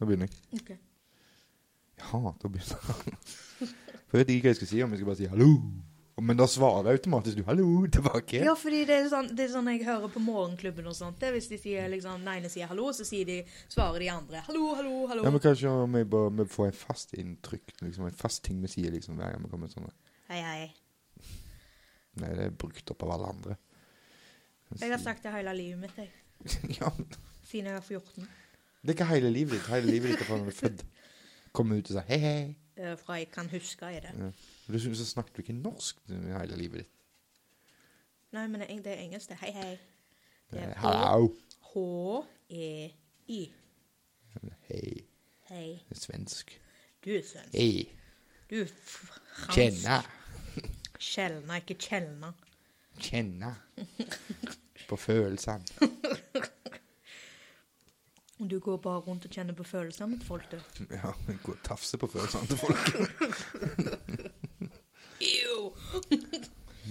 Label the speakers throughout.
Speaker 1: Nå begynner jeg.
Speaker 2: Ok.
Speaker 1: Jeg hater å begynne. For jeg vet ikke hva jeg skal si, om jeg skal bare si hallo. Men da svarer jeg automatisk du hallo tilbake.
Speaker 2: Ja, fordi det er, sånn, det er sånn jeg hører på morgenklubben og sånt. Det er hvis de sier liksom, den ene sier hallo, så sier de, svarer de andre hallo, hallo, hallo.
Speaker 1: Ja, men kanskje om jeg bare vi får en fast inntrykk, liksom, en fast ting vi sier liksom, hver gang vi kommer sånn.
Speaker 2: Hei, hei.
Speaker 1: Nei, det er brukt opp av alle andre.
Speaker 2: Jeg har sagt det hele livet mitt, jeg.
Speaker 1: ja, men
Speaker 2: Siden jeg var 14.
Speaker 1: det er ikke hele livet ditt. Hele livet ditt er fra når du er født. Kommer ut og sier hei, hei.
Speaker 2: Eh, Fra jeg kan huske, er det.
Speaker 1: Og Dessuten så snakket du ikke norsk hele livet ditt.
Speaker 2: Nei, men det er- det er engelsk, det. Hei, hei. Det er
Speaker 1: Hallo.
Speaker 2: H-E-I.
Speaker 1: Hei.
Speaker 2: Hei.
Speaker 1: Det er svensk.
Speaker 2: Du er svensk.
Speaker 1: Hei.
Speaker 2: Du er f- fransk.
Speaker 1: Kjenna.
Speaker 2: Kjelna, ikke kjelna.
Speaker 1: Kjenna. På følelsene.
Speaker 2: Du går bare rundt og kjenner på følelsene til folk, du.
Speaker 1: Ja, men gå og tafse på følelsene til folk.
Speaker 2: Ew.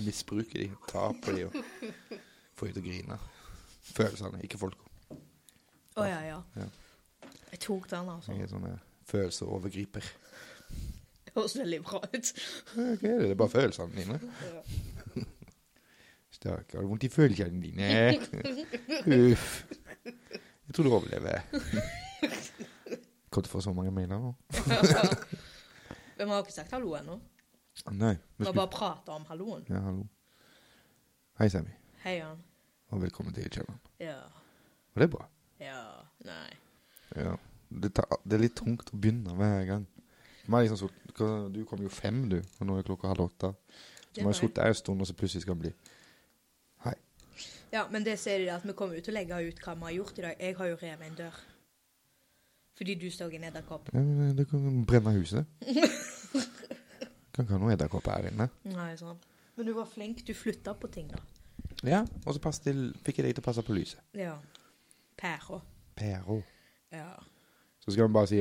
Speaker 1: Misbruke de, ta på de og få de til å grine. Følelsene, ikke folk.
Speaker 2: Å ja, ja.
Speaker 1: Ja.
Speaker 2: Jeg tok den,
Speaker 1: Jeg
Speaker 2: altså.
Speaker 1: er sånn eh, følelsesovergriper.
Speaker 2: Det høres veldig bra ut.
Speaker 1: Eh, Hva er det? Det er bare følelsene dine.
Speaker 2: Ja.
Speaker 1: Stakkar, har du vondt i følelsene dine? Uff. Jeg tror du overlever. Kommer til å få så mange mailer nå.
Speaker 2: Men vi har ikke sagt hallo ennå.
Speaker 1: Nei.
Speaker 2: Vi
Speaker 1: Vi
Speaker 2: har
Speaker 1: skulle...
Speaker 2: bare prata om halloen.
Speaker 1: Ja, hallo. Hei, Sammy.
Speaker 2: Hei, Jan.
Speaker 1: Og velkommen til kjelleren.
Speaker 2: Ja.
Speaker 1: Og det er bra.
Speaker 2: Ja. Nei.
Speaker 1: Ja. Det, tar, det er litt tungt å begynne hver gang. Man er liksom så, hva- du kom jo fem, du, og nå er klokka halv åtte. Så
Speaker 2: Det
Speaker 1: man har
Speaker 2: var
Speaker 1: sittet der en stund, og så plutselig skal man bli Hei.
Speaker 2: Ja, men det ser de at vi kommer jo til å legge ut hva vi har gjort i dag. Jeg har jo revet en dør. Fordi du stod i en edderkopp.
Speaker 1: Ja, men Du kan brenne huset. Kan ikke ha noen edderkopper her inne.
Speaker 2: Nei, sånn. Men du var flink. Du flytta på ting, da.
Speaker 1: Ja, og så passet til, fikk jeg deg til å passe på lyset.
Speaker 2: Ja. Pæra.
Speaker 1: Pero.
Speaker 2: Ja.
Speaker 1: Så skal man bare si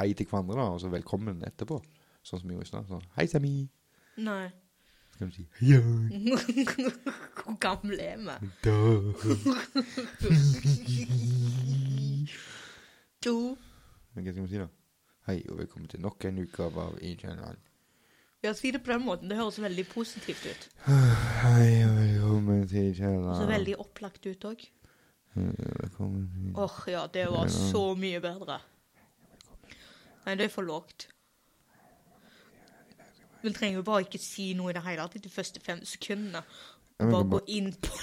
Speaker 1: hei til hverandre, da, og så velkommen etterpå. Sånn som vi gjorde i stad. Sånn Hei, Sami.
Speaker 2: Nei.
Speaker 1: Så kan du si Hei, Jørn.
Speaker 2: Hvor gammel er vi?
Speaker 1: Da.
Speaker 2: To.
Speaker 1: Men Hva skal man si, da? Hei, og velkommen til nok en utgave av I Kjelleren.
Speaker 2: Ja, si det på den måten. Det høres veldig positivt ut.
Speaker 1: Hei, og velkommen til
Speaker 2: Og så
Speaker 1: kjelleren.
Speaker 2: veldig opplagt ut òg.
Speaker 1: Velkommen til
Speaker 2: Åh, ja, det var så mye bedre. Nei, det er for lågt. Vi trenger jo bare ikke si noe i det hele tatt de første fem sekundene.
Speaker 1: Ja, men
Speaker 2: Bare
Speaker 1: kan
Speaker 2: gå inn på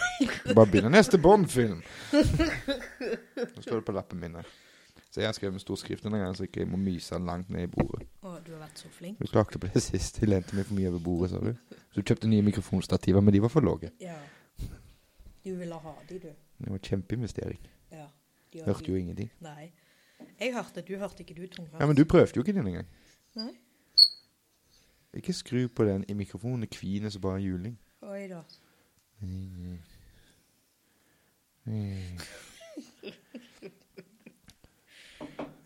Speaker 1: Bare begynne neste Bond-film. Nå står det på lappen min her. Så jeg har skrevet med stor skrift denne gangen, så ikke jeg må myse langt ned i bordet.
Speaker 2: Å, du har vært så flink.
Speaker 1: Du klagde på det sist. Jeg lente meg for mye over bordet, sa du. Så du kjøpte nye mikrofonstativer, men de var for låge.
Speaker 2: Ja. Du ville ha de, du.
Speaker 1: Det var en kjempeinvestering.
Speaker 2: Ja. De har
Speaker 1: Hørte
Speaker 2: de.
Speaker 1: jo ingenting.
Speaker 2: Nei. Jeg hørte, du hørte ikke, du, tunghørt.
Speaker 1: Ja, men du prøvde jo ikke den engang.
Speaker 2: Nei.
Speaker 1: Ikke skru på den i mikrofonen. Det kviner så bare juling.
Speaker 2: Oi da.
Speaker 1: Jeg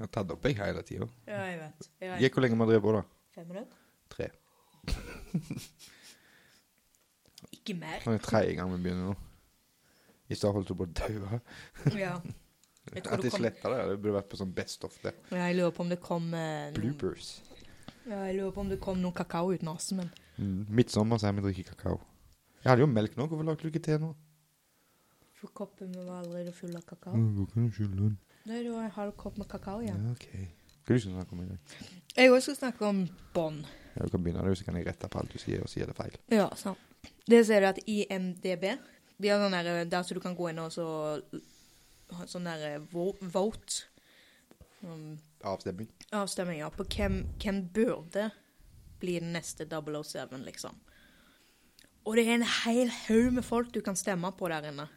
Speaker 1: har tatt opp jeg hele tida.
Speaker 2: Ja, jeg vet. Ja, jeg-
Speaker 1: Gikk hvor lenge vi drev på, da?
Speaker 2: Fem minutter?
Speaker 1: Tre.
Speaker 2: Ikke mer.
Speaker 1: Nå er det tredje gang vi begynner nå. I stad holdt du på å daue.
Speaker 2: Ja. Jeg tror
Speaker 1: At
Speaker 2: det
Speaker 1: de
Speaker 2: kom
Speaker 1: sletta det. Det burde vært på sånn Best of det.
Speaker 2: Ja, Jeg lurer på om det kom eh, noen
Speaker 1: Bloopers.
Speaker 2: Ja, jeg lurer på om det kom noen kakao uten nesen min.
Speaker 1: Mm. Midtsommer så er vi drikker kakao. Jeg hadde jo melk nå. Hvorfor lagde du ikke te nå?
Speaker 2: For koppen min var allerede full av kakao.
Speaker 1: Hvor Mm, kan du skylde den?
Speaker 2: Nei, det var en halv kopp med kakao
Speaker 1: Ja,
Speaker 2: igjen.
Speaker 1: OK. Hva er det du skal snakke om i dag?
Speaker 2: Jeg òg skal snakke om bånd.
Speaker 1: Ja, du kan begynne, du, så kan jeg rette på alt du sier, og sier det feil.
Speaker 2: Ja, sant. Det ser du at IMDb De har sånn der, der så du kan gå inn og så ha sånn der eh, vo- vote um,
Speaker 1: Avstemning.
Speaker 2: Avstemninger på hvem, hvem burde bli den neste 007, liksom. Og det er en hel haug med folk du kan stemme på der inne.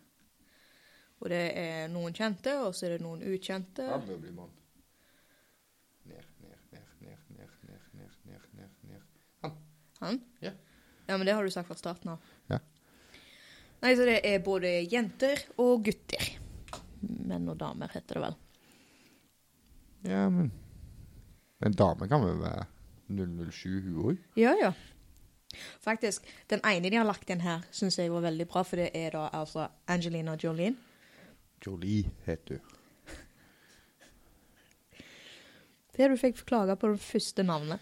Speaker 2: Og det er noen kjente, og så er det noen ukjente.
Speaker 1: Han bør bli mann. Ned, ned, ned, ned, ned, ned, ned, ned, ned, ned.
Speaker 2: Han?
Speaker 1: Ja.
Speaker 2: Ja, men det har du sagt fra starten av.
Speaker 1: Ja.
Speaker 2: Nei, så det er både jenter og gutter. Menn og damer heter det vel.
Speaker 1: Ja, men En dame kan vel være 007, hun òg?
Speaker 2: Ja, ja. Faktisk, den ene de har lagt inn her, syns jeg var veldig bra, for det er da altså Angelina Jolene.
Speaker 1: Jolie heter hun.
Speaker 2: Det du fikk klage på det første navnet.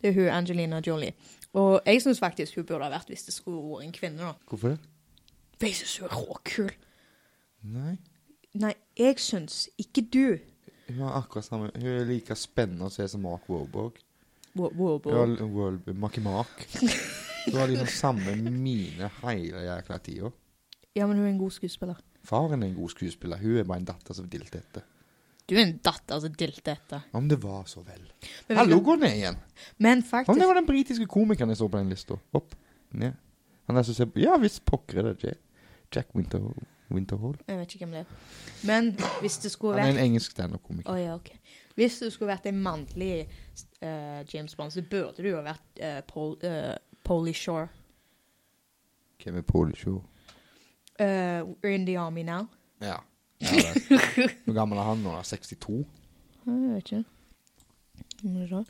Speaker 2: Det er hun Angelina Jolie. Og jeg syns faktisk hun burde ha vært hvis det skulle vært en kvinne, da.
Speaker 1: Hvorfor det?
Speaker 2: For jeg syns hun er råkul.
Speaker 1: Nei.
Speaker 2: Nei, jeg syns ikke du.
Speaker 1: Hun har akkurat samme Hun er like spennende å se som Mark Warburg.
Speaker 2: Wo- wo- wo-
Speaker 1: Hun har l- World Maki Mark. Hun har liksom samme mine hele jækla tida.
Speaker 2: Ja, men hun er en god skuespiller.
Speaker 1: Faren er en god skuespiller. Hun er bare en datter som dilter etter.
Speaker 2: Du er en datter som dilter etter.
Speaker 1: Om det var så vel.
Speaker 2: Men vi
Speaker 1: Hallo,
Speaker 2: kan-
Speaker 1: gå ned igjen.
Speaker 2: Men
Speaker 1: Om det
Speaker 2: faktisk
Speaker 1: var den britiske komikeren jeg så på den lista. Opp, ned. Han er som ser på Ja visst pokker er det Jack, Jack Winter, Winterhall.
Speaker 2: Jeg vet ikke hvem det er. Men hvis det skulle
Speaker 1: Han er
Speaker 2: vært
Speaker 1: en engelsk
Speaker 2: Å
Speaker 1: standup-komiker.
Speaker 2: ja, OK. Hvis det skulle vært en mannlig eh, James Bond, så burde det jo ha vært uh, Pol, eh, Polly Shore.
Speaker 1: Hvem er Paul Shaw?
Speaker 2: Eh, we're in the army now.
Speaker 1: Ja. Ja, vel. Hvor gammel er han nå? da? 62?
Speaker 2: Jeg vet ikke. Må vi se.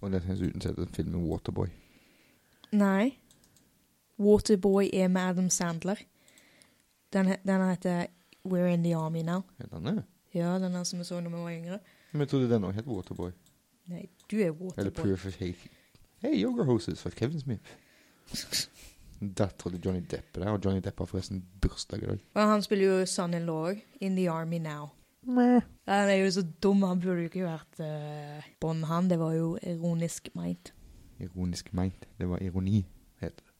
Speaker 1: Og det er dessuten sett en film med Waterboy.
Speaker 2: Nei. Waterboy er med Adam Sandler. Den, he- den heter We're in the army now.
Speaker 1: Heter han det?
Speaker 2: Ja, den her som vi så da vi var yngre.
Speaker 1: Men jeg trodde den òg het Waterboy.
Speaker 2: Nei, du er
Speaker 1: Eller
Speaker 2: Waterboy.
Speaker 1: Purification. Hey, yoga hoses for Kevin Smith. Dattera til Johnny Depp er der, og Johnny Depp har forresten bursdag i dag.
Speaker 2: Og han spiller jo son-in-law også, In the Army Now. Han er jo så dum, han burde jo ikke vært uh, Bond, han. Det var jo ironisk meint.
Speaker 1: Ironisk meint. Det var ironi, heter det.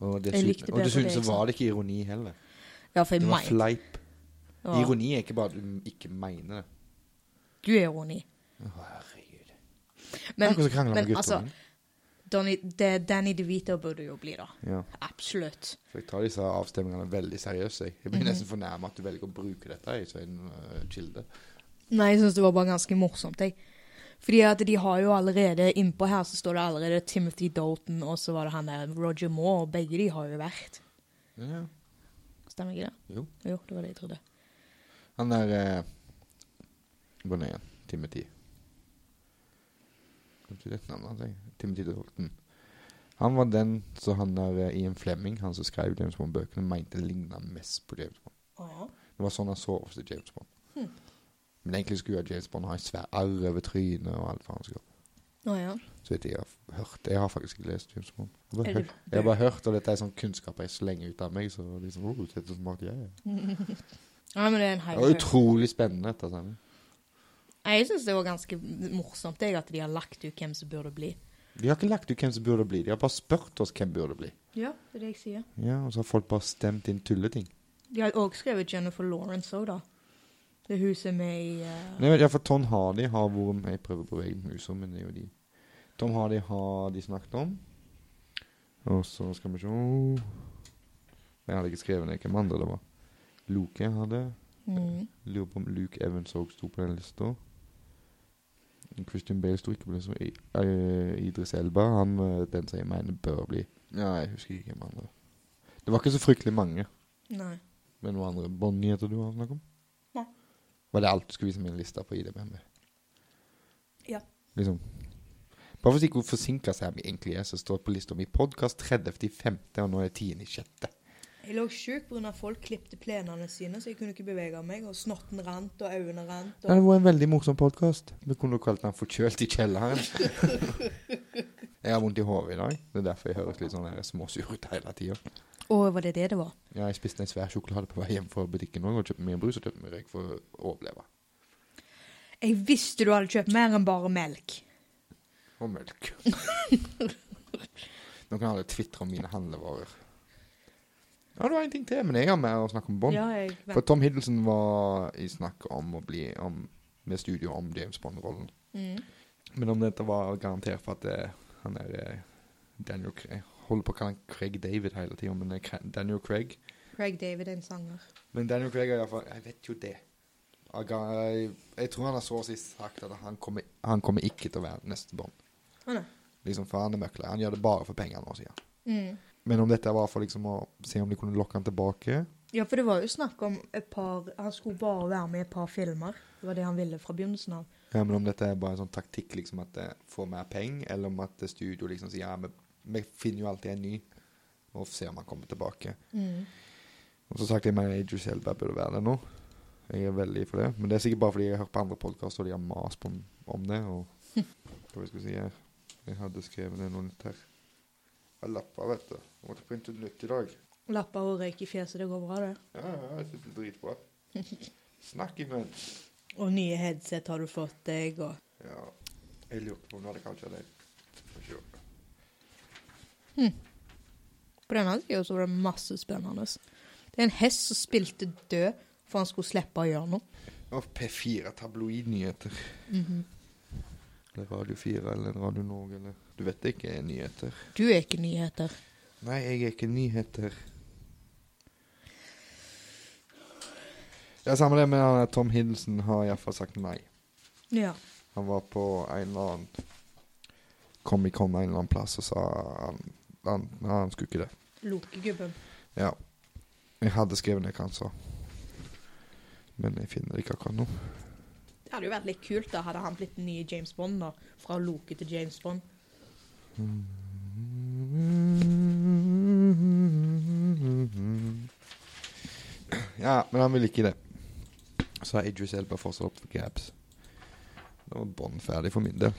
Speaker 1: Og
Speaker 2: Jeg likte
Speaker 1: dessuten, og
Speaker 2: bedre
Speaker 1: dessuten
Speaker 2: det,
Speaker 1: så
Speaker 2: ikke
Speaker 1: var
Speaker 2: sant?
Speaker 1: det ikke ironi heller.
Speaker 2: Ja, for
Speaker 1: Det var
Speaker 2: meint.
Speaker 1: fleip.
Speaker 2: Ja.
Speaker 1: Ironi er ikke bare at du ikke mener det.
Speaker 2: Du er ironi.
Speaker 1: Å, Herregud.
Speaker 2: Men,
Speaker 1: Akkurat som krangler med
Speaker 2: men altså,
Speaker 1: guttungen.
Speaker 2: Donny, det Danny DeVito burde jo bli, da.
Speaker 1: Ja.
Speaker 2: Absolutt.
Speaker 1: For jeg tar disse avstemmingene veldig seriøst. Jeg,
Speaker 2: Mhm.
Speaker 1: jeg blir nesten fornærma at du velger å bruke dette i en øh, kilde.
Speaker 2: Nei, jeg syns det var bare ganske morsomt, jeg. Fordi at de har jo allerede Innpå her så står det allerede Timothy Dalton, og så var det han der Roger Moore, og begge de har jo vært.
Speaker 1: Ja.
Speaker 2: Stemmer ikke det?
Speaker 1: Jo.
Speaker 2: Jo, det var det jeg trodde.
Speaker 1: Han der eh, Gå ned igjen. Timothy. Kom til dette navnet, altså. Timothy Dalton. Han var den som han der eh, Ian Fleming, han som skrev James Bond-bøkene, mente ligna mest på James Bond.
Speaker 2: Ja.
Speaker 1: Det var sånn han så ofte James Bond.
Speaker 2: Hm.
Speaker 1: Men egentlig skulle jo James Bond ha en svær arr over trynet og alt faen. skulle.
Speaker 2: Å ja.
Speaker 1: Så vet jeg, jeg har hørt Jeg har faktisk ikke lest James Bond. Jeg har bare,
Speaker 2: Er det
Speaker 1: hørt, jeg har bare hørt, og dette er sånn kunnskap jeg slenger ut av meg. Så liksom, oh, det er så smart jeg er.
Speaker 2: Nei, men det er en
Speaker 1: Det
Speaker 2: hel
Speaker 1: var utrolig spennende, dette. altså. Sammen.
Speaker 2: Nei, Jeg syns det var ganske morsomt jeg, at de har lagt ut hvem som burde bli.
Speaker 1: De har ikke lagt ut hvem som burde bli. De har bare spurt oss hvem burde bli.
Speaker 2: Ja, det er det jeg sier.
Speaker 1: Ja, Og så har folk bare stemt inn tulleting.
Speaker 2: De har òg skrevet Jennifer Lawrence òg, da. Det er hun som er i eh,
Speaker 1: Men Jeg vet, ja, for Tom Hardy har vært med Jeg prøver å bevege meg ut, men det er jo de. Tom Hardy har de snakket om. Og så skal vi se Jeg hadde ikke skrevet ned hvem andre det var. Luke hadde.
Speaker 2: mm.
Speaker 1: Lurer på om Luke Evans òg sto på den lista. Christian Bale sto ikke på den. som I- eh, Idris Elba, han eh, den som jeg mener bør bli Ja, jeg husker ikke hvem andre. Det var ikke så fryktelig mange.
Speaker 2: Nei.
Speaker 1: Men noen andre Bonnie-nyheter du har snakket om?
Speaker 2: Nei.
Speaker 1: Var det alt du skulle vise meg en liste på IDBMB?
Speaker 2: Ja.
Speaker 1: Liksom. Bare for å si hvor forsinka vi egentlig er, så står det på lista mi podkast 30.5., og nå er det 10.6.
Speaker 2: Jeg lå sjuk pga. folk klipte plenene sine, så jeg kunne ikke bevege meg. Og snotten rant, og øynene rant.
Speaker 1: Det hadde vært en veldig morsom podkast. Vi kunne jo kalt den 'Forkjølt i kjelleren'. jeg har vondt i hodet i dag. Det er derfor jeg høres litt sånn her småsur ut hele tida.
Speaker 2: Å, var det det det var?
Speaker 1: Ja, jeg spiste en svær sjokolade på vei hjem fra butikken òg, og kjøpte mye brus og kjøpte mye røyk for å overleve.
Speaker 2: Jeg visste du hadde kjøpt mer enn bare melk.
Speaker 1: Og melk. Nå kan alle tvitre om mine handlevarer. Ja, det var en ting til, men jeg har med å snakke om Bond.
Speaker 2: Ja, jeg
Speaker 1: For Tom Hiddleston var i snakk om å bli om, med studio om James Bond-rollen.
Speaker 2: mm.
Speaker 1: Men om dette var garantert for at eh, han er eh, Daniel Craig jeg Holder på å kalle han Craig David hele tida, men det er Cra- Daniel Craig
Speaker 2: Craig David er en sanger.
Speaker 1: Men Daniel Craig er iallfall Jeg vet jo det. Jeg, ga- jeg, jeg tror han har så å si sagt at han kommer, han kommer ikke til å være neste Bond.
Speaker 2: Å nei.
Speaker 1: Liksom, for han er møkler. Han gjør det bare for penger nå, sier han.
Speaker 2: Mm.
Speaker 1: Men om dette var for liksom å se om de kunne lokke han tilbake
Speaker 2: Ja, for det var jo snakk om et par Han skulle bare være med i et par filmer. Det var det han ville fra begynnelsen av.
Speaker 1: Ja, eh, men om dette er bare en sånn taktikk liksom at det får mer penger, eller om at studio liksom sier ja, vi, vi finner jo alltid en ny,
Speaker 2: Mm.
Speaker 1: og ser om han kommer tilbake. Og så sagt jeg meg Idris Elba burde være det nå. Jeg er veldig for det. Men det er sikkert bare fordi jeg har hørt på andre podkaster, og de har mast om, om det. Og hva jeg skulle si her Jeg hadde skrevet ned noe nytt her. Jeg har lapper, vet du. Jeg måtte printe ut nytt i dag.
Speaker 2: Lapper og røyk i fjeset, det går bra, det.
Speaker 1: Ja, ja, jeg synes det er dritbra. Snakk imens.
Speaker 2: Og nye headset har du fått deg, og
Speaker 1: Ja. Jeg lurte på om du hadde kanskje det. Får se.
Speaker 2: På denne tida så var det masse spennende. Det er en hest som spilte død for han skulle slippe å gjøre noe.
Speaker 1: Og P4 tabloidnyheter.
Speaker 2: Mhm.
Speaker 1: Eller Radio 4 eller Radio Norge eller Du vet jeg ikke er nyheter.
Speaker 2: Du er ikke nyheter.
Speaker 1: Nei, jeg er ikke nyheter. Ja, samme det med han der Tom Hiddleston har iallfall sagt nei.
Speaker 2: Ja.
Speaker 1: Han var på en eller annen Comic-Con en eller annen plass og sa han, han, han skulle ikke det.
Speaker 2: Lokegubben.
Speaker 1: Ja. Jeg hadde skrevet ned hva han sa. Men jeg finner det ikke akkurat nå.
Speaker 2: Det hadde jo vært litt kult da, hadde han blitt den nye James Bond da. Fra Loke til James Bond.
Speaker 1: Ja, men han vil ikke det. Så har Idris Elba fortsatt opp for grabs. Da var Bond ferdig for min del.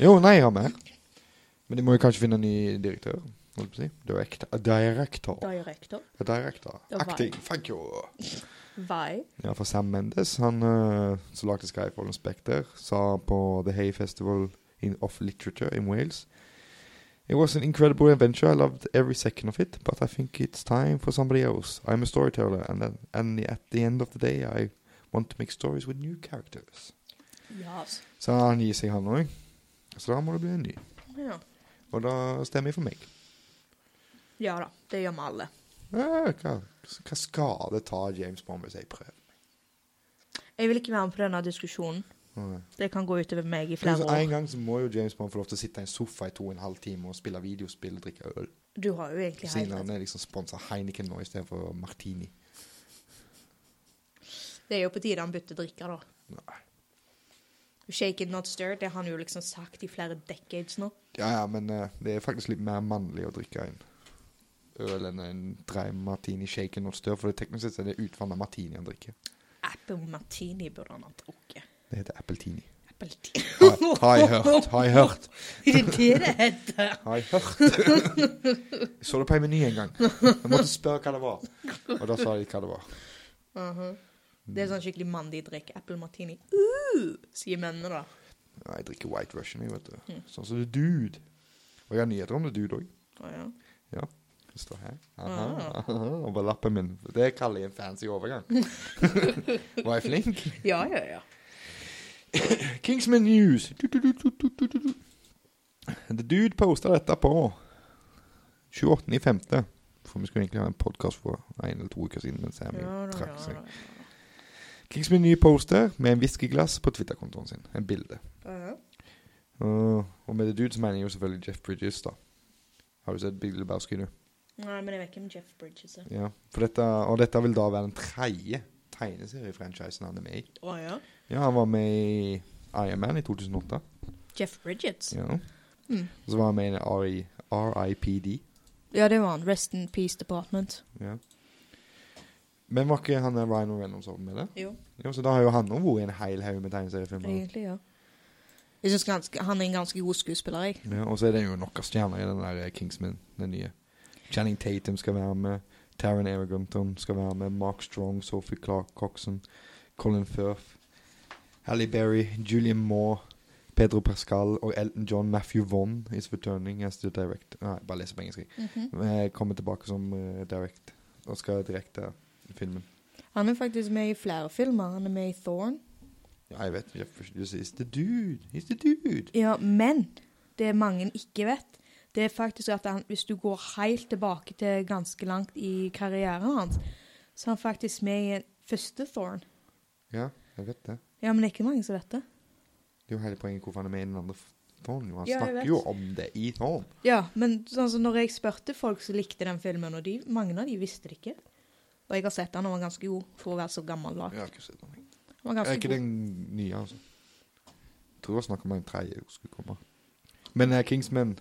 Speaker 1: Jo, nei, jeg har mer. Men de må jo kanskje finne en ny direktør. Holdt på å si. Director. A director.
Speaker 2: Director.
Speaker 1: A director.
Speaker 2: Det var-
Speaker 1: Acting. Thank you.
Speaker 2: Vai.
Speaker 1: Ja, for Sam Mendes, han eh, som lagde Skyfall og Spectre, sa på The Hay Festival in, of Literature in Wales It was an incredible adventure. I loved every second of it, but I think it's time for somebody else. I'm a storyteller, and, then, and at the end of the day, I want to make stories with new characters.
Speaker 2: Ja, altså.
Speaker 1: Så han gir seg, han òg. Så da må det bli en ny.
Speaker 2: Ja.
Speaker 1: Og da stemmer jeg for meg.
Speaker 2: ja da, det gjør vi alle.
Speaker 1: Eh, hva, hva skal det ta James Bond hvis jeg prøver?
Speaker 2: Jeg vil ikke være med på denne diskusjonen.
Speaker 1: Nei.
Speaker 2: Det kan gå utover meg i flere
Speaker 1: Altså, en
Speaker 2: år.
Speaker 1: gang så må jo James Bond få lov til å sitte i en sofa i to og en halv time og spille videospill og drikke øl.
Speaker 2: Du har jo egentlig
Speaker 1: Siden
Speaker 2: helt
Speaker 1: han
Speaker 2: rett.
Speaker 1: er liksom sponsa Heineken nå istedenfor Martini.
Speaker 2: Det er jo på tide han bytter drikker da.
Speaker 1: Nei.
Speaker 2: Shake it not stir, det har han jo liksom sagt i flere decades nå.
Speaker 1: Ja, ja, men eh, det er faktisk litt mer mannlig å drikke en øl enn en dry martini shaken not stir, for det teknisk sett er det utvanna martini han drikker.
Speaker 2: Apple martini burde han ha drukket.
Speaker 1: Det heter appeltini.
Speaker 2: Apple tea.
Speaker 1: Har jeg- har jeg hørt. Har jeg hørt.
Speaker 2: Er det det det heter?
Speaker 1: Har jeg hørt. Jeg så det på ei meny en gang. Jeg måtte spørre hva det var, og da sa de hva det var.
Speaker 2: Mhm. Det er sånn skikkelig mandig drikk. Apple martini. Uh, sier mennene, da.
Speaker 1: Nei, Jeg drikker White Russian, jeg, vet du.
Speaker 2: Mm.
Speaker 1: Sånn som The Dude. Og jeg har nyheter om The Dude òg.
Speaker 2: Å, ja.
Speaker 1: Det står her. Aha,
Speaker 2: Ah.
Speaker 1: aha, over lappen min. Det kaller jeg en fancy overgang. Var jeg flink?
Speaker 2: ja, ja, ja.
Speaker 1: Kingsman News. Du, du, du, du, du, du, du, du. The Dude posta dette på 28.5. For vi skulle egentlig ha en podkast for en eller to uker siden. Men Sammy
Speaker 2: ja, da,
Speaker 1: trakk
Speaker 2: ja,
Speaker 1: seg.
Speaker 2: da,
Speaker 1: Kingsman ny poster med en whiskyglass på Twitter-kontoen sin. En bilde.
Speaker 2: ja. Mhm.
Speaker 1: Og- og med The Dude så mener jeg jo selvfølgelig Jeff Bridges, da. Har du sett Big Lebowski, du?
Speaker 2: Nei, men jeg vet ikke om Jeff Bridges er
Speaker 1: Ja, for dette, og dette vil da være den tredje tegneseriefranchisen han er med i.
Speaker 2: Å ja.
Speaker 1: Ja, han var med i Iron Man i 2008.
Speaker 2: Jeff Bridges? Ja.
Speaker 1: Ja.
Speaker 2: Mm.
Speaker 1: Og så var han med i en RI RIPD.
Speaker 2: det var han. Rest in Peace Department.
Speaker 1: Ja. Men var ikke han der Ryan Reynolds også med det?
Speaker 2: Jo,
Speaker 1: Jo, så da har jo han òg vært i en hel haug med tegneseriefilmer.
Speaker 2: egentlig, ja. Jeg syns ganske- han er en ganske god skuespiller, jeg.
Speaker 1: Ja, og så er det jo nok av stjerner i den der Kingsman, den nye. Channing Tatum skal være med. Taron Egergunton skal være med. Mark Strong, Sophie Clark Coxon, Colin Firth, Halle Berry, Julian Moore, Pedro Pascal og Elton John Matthew Vaughn is returning as the direct... Nei, bare leser på engelsk. jeg.
Speaker 2: Mhm.
Speaker 1: Eh, Kommer tilbake som eh, direct og skal direkte filmen.
Speaker 2: Han er faktisk med i flere filmer. Han er med i Thorn.
Speaker 1: Ja, jeg vet. Jeff Bridges is the dude. He's the dude.
Speaker 2: Ja, men det mange ikke vet, det er faktisk at han, hvis du går helt tilbake til ganske langt i karrieren hans, så er han faktisk med i en første Thorn.
Speaker 1: Ja, jeg vet det.
Speaker 2: Ja, men det er ikke mange som vet det.
Speaker 1: Det er jo hele poenget hvorfor han er med i den andre Thorn. jo. Han
Speaker 2: Ja, jeg
Speaker 1: snakker
Speaker 2: vet.
Speaker 1: jo om det i Thorn.
Speaker 2: Ja, men sånn som når jeg spurte folk som likte den filmen, og de, mange av de visste det ikke. Og jeg har sett den, og den var ganske god for å være så gammel lag.
Speaker 1: Jeg har ikke sett den. jeg.
Speaker 2: Den var
Speaker 1: Er
Speaker 2: ganske
Speaker 1: ikke
Speaker 2: god.
Speaker 1: den nye, altså? Jeg tror jeg snakket om en tredje som skulle komme. Men eh, Kingsman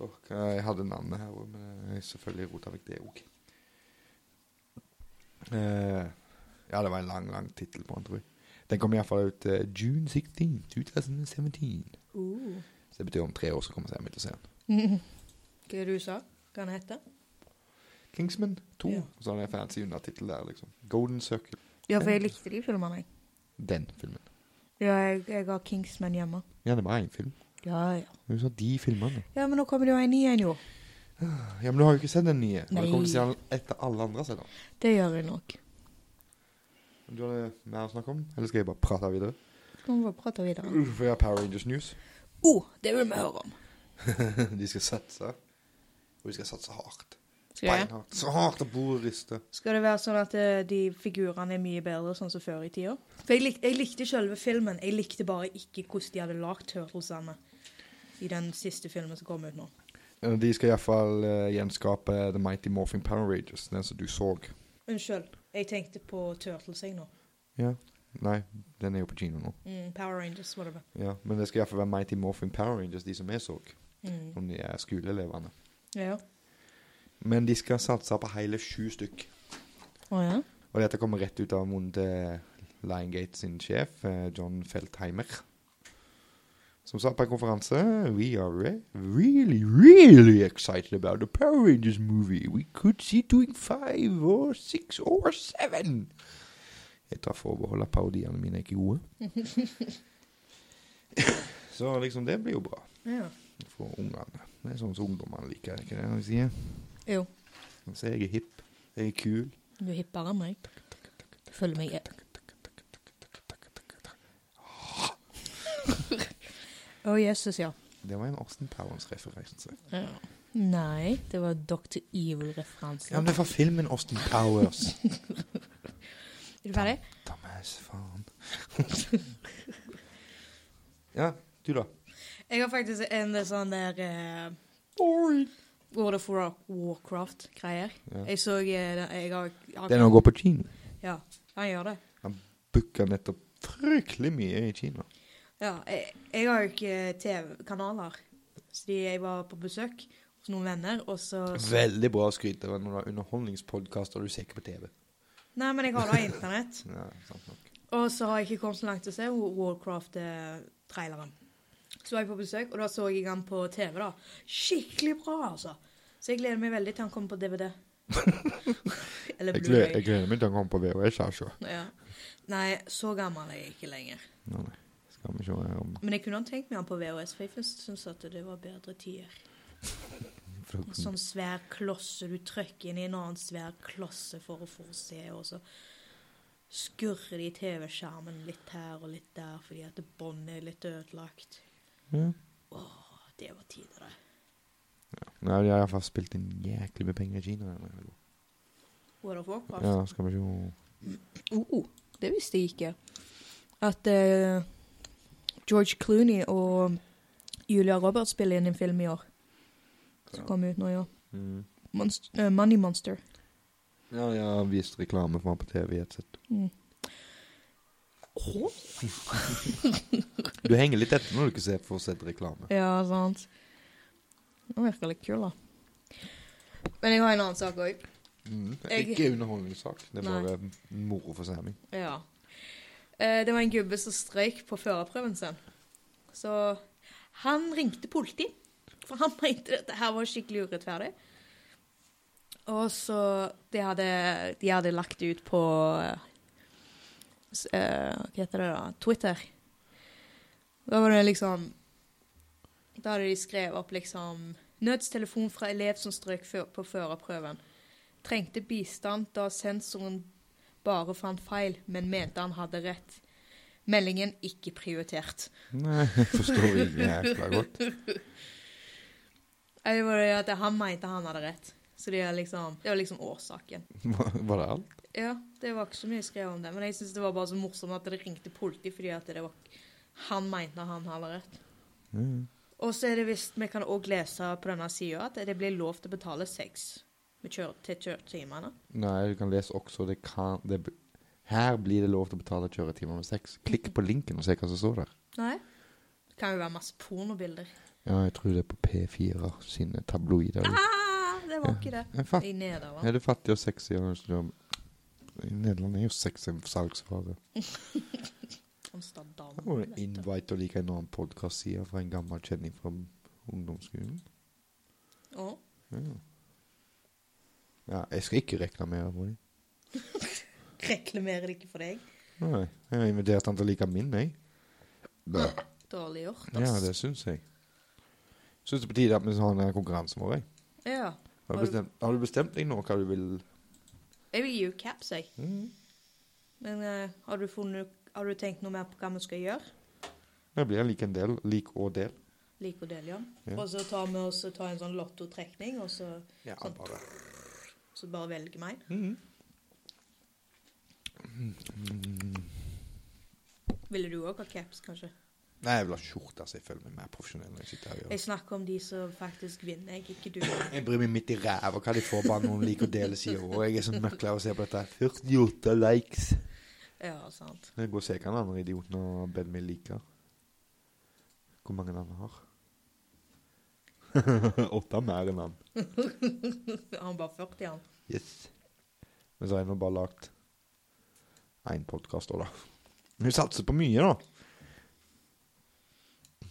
Speaker 1: Åh, hva- Jeg hadde navnet her òg, men jeg selvfølgelig rota vekk det òg. Eh, Ja, det var en lang, lang tittel på den, tror jeg. Den kom iallfall ut eh, June 16, 2017.
Speaker 2: Uh.
Speaker 1: Så det betyr om tre år så kommer jeg til å se den.
Speaker 2: Hva er det du sa? Hva han heter?
Speaker 1: Kingsman 2.
Speaker 2: Ja.
Speaker 1: Og så har den en fancy undertittel der, liksom. Golden Circle.
Speaker 2: Ja, for jeg likte de filmene, jeg.
Speaker 1: Den filmen.
Speaker 2: Ja, jeg, jeg har Kingsman hjemme.
Speaker 1: Ja, det var én film.
Speaker 2: Ja, ja.
Speaker 1: Men Du sa de filmene.
Speaker 2: Ja, men nå kommer det jo en ny en, jo.
Speaker 1: Ja, men du har jo ikke sett den nye. Og
Speaker 2: Nei.
Speaker 1: Du kommer til å se den etter alle andre har sett den.
Speaker 2: Det gjør jeg nok.
Speaker 1: Om Du har det mer å snakke om? Eller skal jeg bare prate videre?
Speaker 2: Skal vi bare prate videre?
Speaker 1: Uh, For jeg har Power Rangers News.
Speaker 2: Oh, det vil vi høre om.
Speaker 1: de skal satse. Og de skal satse hardt.
Speaker 2: Skal, jeg?
Speaker 1: Beinhardt. Så hardt at bordet rister.
Speaker 2: skal det være sånn at eh, de figurene er mye bedre sånn som før i tida? For jeg, lik, jeg likte selve filmen, jeg likte bare ikke hvordan de hadde lagd turtlesene i den siste filmen som kom ut nå.
Speaker 1: Eh, De skal iallfall uh, gjenskape The Mighty Morphing Power Rangers, den som du så.
Speaker 2: Unnskyld, jeg tenkte på Turtles jeg nå.
Speaker 1: Ja. Nei, den er jo på kino nå.
Speaker 2: Mm, Power Rangers, var det vel.
Speaker 1: Ja, Men det skal iallfall være Mighty Morphing Power Rangers, de som jeg så.
Speaker 2: Mm.
Speaker 1: Om de er skoleelevene.
Speaker 2: Ja.
Speaker 1: Men de skal satse på hele sju stykk.
Speaker 2: Å ja?
Speaker 1: Og dette kommer rett ut av munnen til Liongate sin sjef, eh, John Feldheimer. Som sa på en konferanse We are re really, really excited about the Power Rangers movie. We could see doing five or six or seven. Jeg tar forbehold at parodiene mine er ikke gode. Så liksom, det blir jo bra
Speaker 2: ja.
Speaker 1: for ungene. Det er sånn som ungdommene liker, er det ikke det de sier?
Speaker 2: Jo,
Speaker 1: Så jeg er hipp, jeg er kul.
Speaker 2: du er hippere enn meg. Du føler meg Å, Jesus, ja.
Speaker 1: Det var en Austin Powers-referanse.
Speaker 2: Nei, det var Dr. Evil-referanse.
Speaker 1: Ja, men det var filmen Austin Powers.
Speaker 2: Er du ferdig?
Speaker 1: Dumbass, faen. ja, du da?
Speaker 2: Jeg har faktisk en sånn der eh, World of War- Warcraft-greier.
Speaker 1: Ja.
Speaker 2: Jeg så eh, den- jeg har, jeg har
Speaker 1: Den å gå på kino.
Speaker 2: Ja, han gjør det.
Speaker 1: Booka nettopp fryktelig mye i Kina.
Speaker 2: Ja, jeg, jeg har jo ikke TV-kanaler. Så de, jeg var på besøk hos noen venner, og så
Speaker 1: Veldig bra skryt av når du har underholdningspodkast og du ser ikke på TV.
Speaker 2: Nei, men jeg har da internett.
Speaker 1: Ja, sant nok.
Speaker 2: Og så har jeg ikke kommet så langt til å se Warcraft-traileren. Så var jeg på besøk, og da så jeg han på TV. da. Skikkelig bra, altså. Så jeg gleder meg veldig til han kommer på DVD. Eller
Speaker 1: Jeg gleder,
Speaker 2: Blu-ray.
Speaker 1: meg til å komme på VHS her, så.
Speaker 2: Ja. Nei, så gammel er jeg ikke lenger.
Speaker 1: Nei, nei. Skal vi se her om
Speaker 2: Men jeg kunne ha tenkt meg han på VHS, for jeg først syntes at det var bedre tider. En sånn svær klosse du trykker inn i en annen svær klosse for å få se, og så skurrer de TV-skjermen litt her og litt der fordi at båndet er litt ødelagt.
Speaker 1: ja.
Speaker 2: Åh, det var tider, det.
Speaker 1: Nei, de har iallfall spilt inn jæklig med penger i Kina. eller?
Speaker 2: World of Warcraft.
Speaker 1: Ja, skal vi se
Speaker 2: Oh, det visste jeg ikke. At eh, George Clooney og um, Julia Roberts spiller inn en film i år. Som kom ut nå i år.
Speaker 1: mm.
Speaker 2: Monst- eh, Money Monster.
Speaker 1: Ja, jeg har vist reklame for meg på TV i et sett.
Speaker 2: Mm. Åh?
Speaker 1: Du henger litt etter når du ikke ser får sett reklame.
Speaker 2: Ja, sant. Den virker litt kul, da. Men jeg har en annen sak òg.
Speaker 1: Mm.
Speaker 2: Jeg-
Speaker 1: Ikke underholdningssak. Det
Speaker 2: Nei.
Speaker 1: var bare moro for Sammy.
Speaker 2: Ja. Eh, det var en gubbe som strøyk på førerprøven sin. Så han ringte politi, for han mente dette her var skikkelig urettferdig. Og så de hadde, de hadde lagt ut på eh, s- eh, Hva heter det, da? Twitter. Da var det liksom Da hadde de skrevet opp liksom Nødstelefon fra elev som strøk fø- på førerprøven. Trengte bistand da sensoren bare fant feil, men mente han hadde rett. Meldingen ikke prioritert.
Speaker 1: Nei, jeg forstår ikke jækla godt.
Speaker 2: Eller var det at han mente han hadde rett. Så det, er liksom, det var liksom årsaken.
Speaker 1: Var var det alt?
Speaker 2: Ja, det var ikke så mye skrevet om det. Men jeg syns det var bare så morsomt at det ringte politi fordi at det var Han mente han hadde rett.
Speaker 1: Mm.
Speaker 2: Og så er det visst Vi kan òg lese på denne sida at det blir lov til å betale seks med kjøre, til kjøretimene.
Speaker 1: Nei, du kan lese også det kan det, b- Her blir det lov til å betale kjøretimer med sex. Klikk på linken og se hva som står der.
Speaker 2: Nei? Det kan jo være masse pornobilder.
Speaker 1: Ja, jeg tror det er på P4 sine tabloider.
Speaker 2: Ah, det var ikke det.
Speaker 1: Er, fatt,
Speaker 2: I Nederland.
Speaker 1: er du fattig og sexy og har lyst til å Nederland er jo sexsalgsvare.
Speaker 2: Amsterdam.
Speaker 1: Her var det
Speaker 2: vet du.
Speaker 1: invite og like en annen podkast-side fra en gammel kjenning fra ungdomsskolen.
Speaker 2: Å,
Speaker 1: Ja. ja, jeg skal ikke reklamere for dem.
Speaker 2: reklamerer de ikke for deg?
Speaker 1: Nei, jeg har invitert han til å like min, jeg.
Speaker 2: Dårlig gjort,
Speaker 1: Ja, det syns jeg. Syns det er på tide at vi har den konkurransen vår, jeg.
Speaker 2: Ja.
Speaker 1: Har du
Speaker 2: Har du-
Speaker 1: bestemt, har du bestemt deg nå hva du vil
Speaker 2: Jeg vil gi henne caps, jeg.
Speaker 1: Mhm.
Speaker 2: Men eh, har, du funnet, har du tenkt noe mer på hva vi skal gjøre?
Speaker 1: Det blir lik en del. Lik og del.
Speaker 2: Like å dele, ja.
Speaker 1: Ja.
Speaker 2: Og så tar vi oss tar en sånn lottotrekning, og så,
Speaker 1: Ja,
Speaker 2: Sånn.
Speaker 1: bare. Mm.
Speaker 2: så bare velger vi en.
Speaker 1: Mm.
Speaker 2: Ville du òg ha caps, kanskje?
Speaker 1: Nei, jeg vil ha skjorte, så jeg føler meg mer profesjonell når jeg sitter her. og gjør
Speaker 2: Jeg snakker om de som faktisk vinner, jeg, ikke du.
Speaker 1: det. Jeg bryr meg midt i ræva hva de får, bare noen liker å dele sider. Og jeg er sånn møkla og ser på dette. 48 likes.
Speaker 2: Ja, sant.
Speaker 1: Jeg går og ser hva den andre idioten og Ben min liker. Hvor mange han har. Åtte mer enn han.
Speaker 2: Han bare 40, han.
Speaker 1: Yes. Men så har jeg nå bare lagt én podkast òg, da. Men hun satser på mye, da.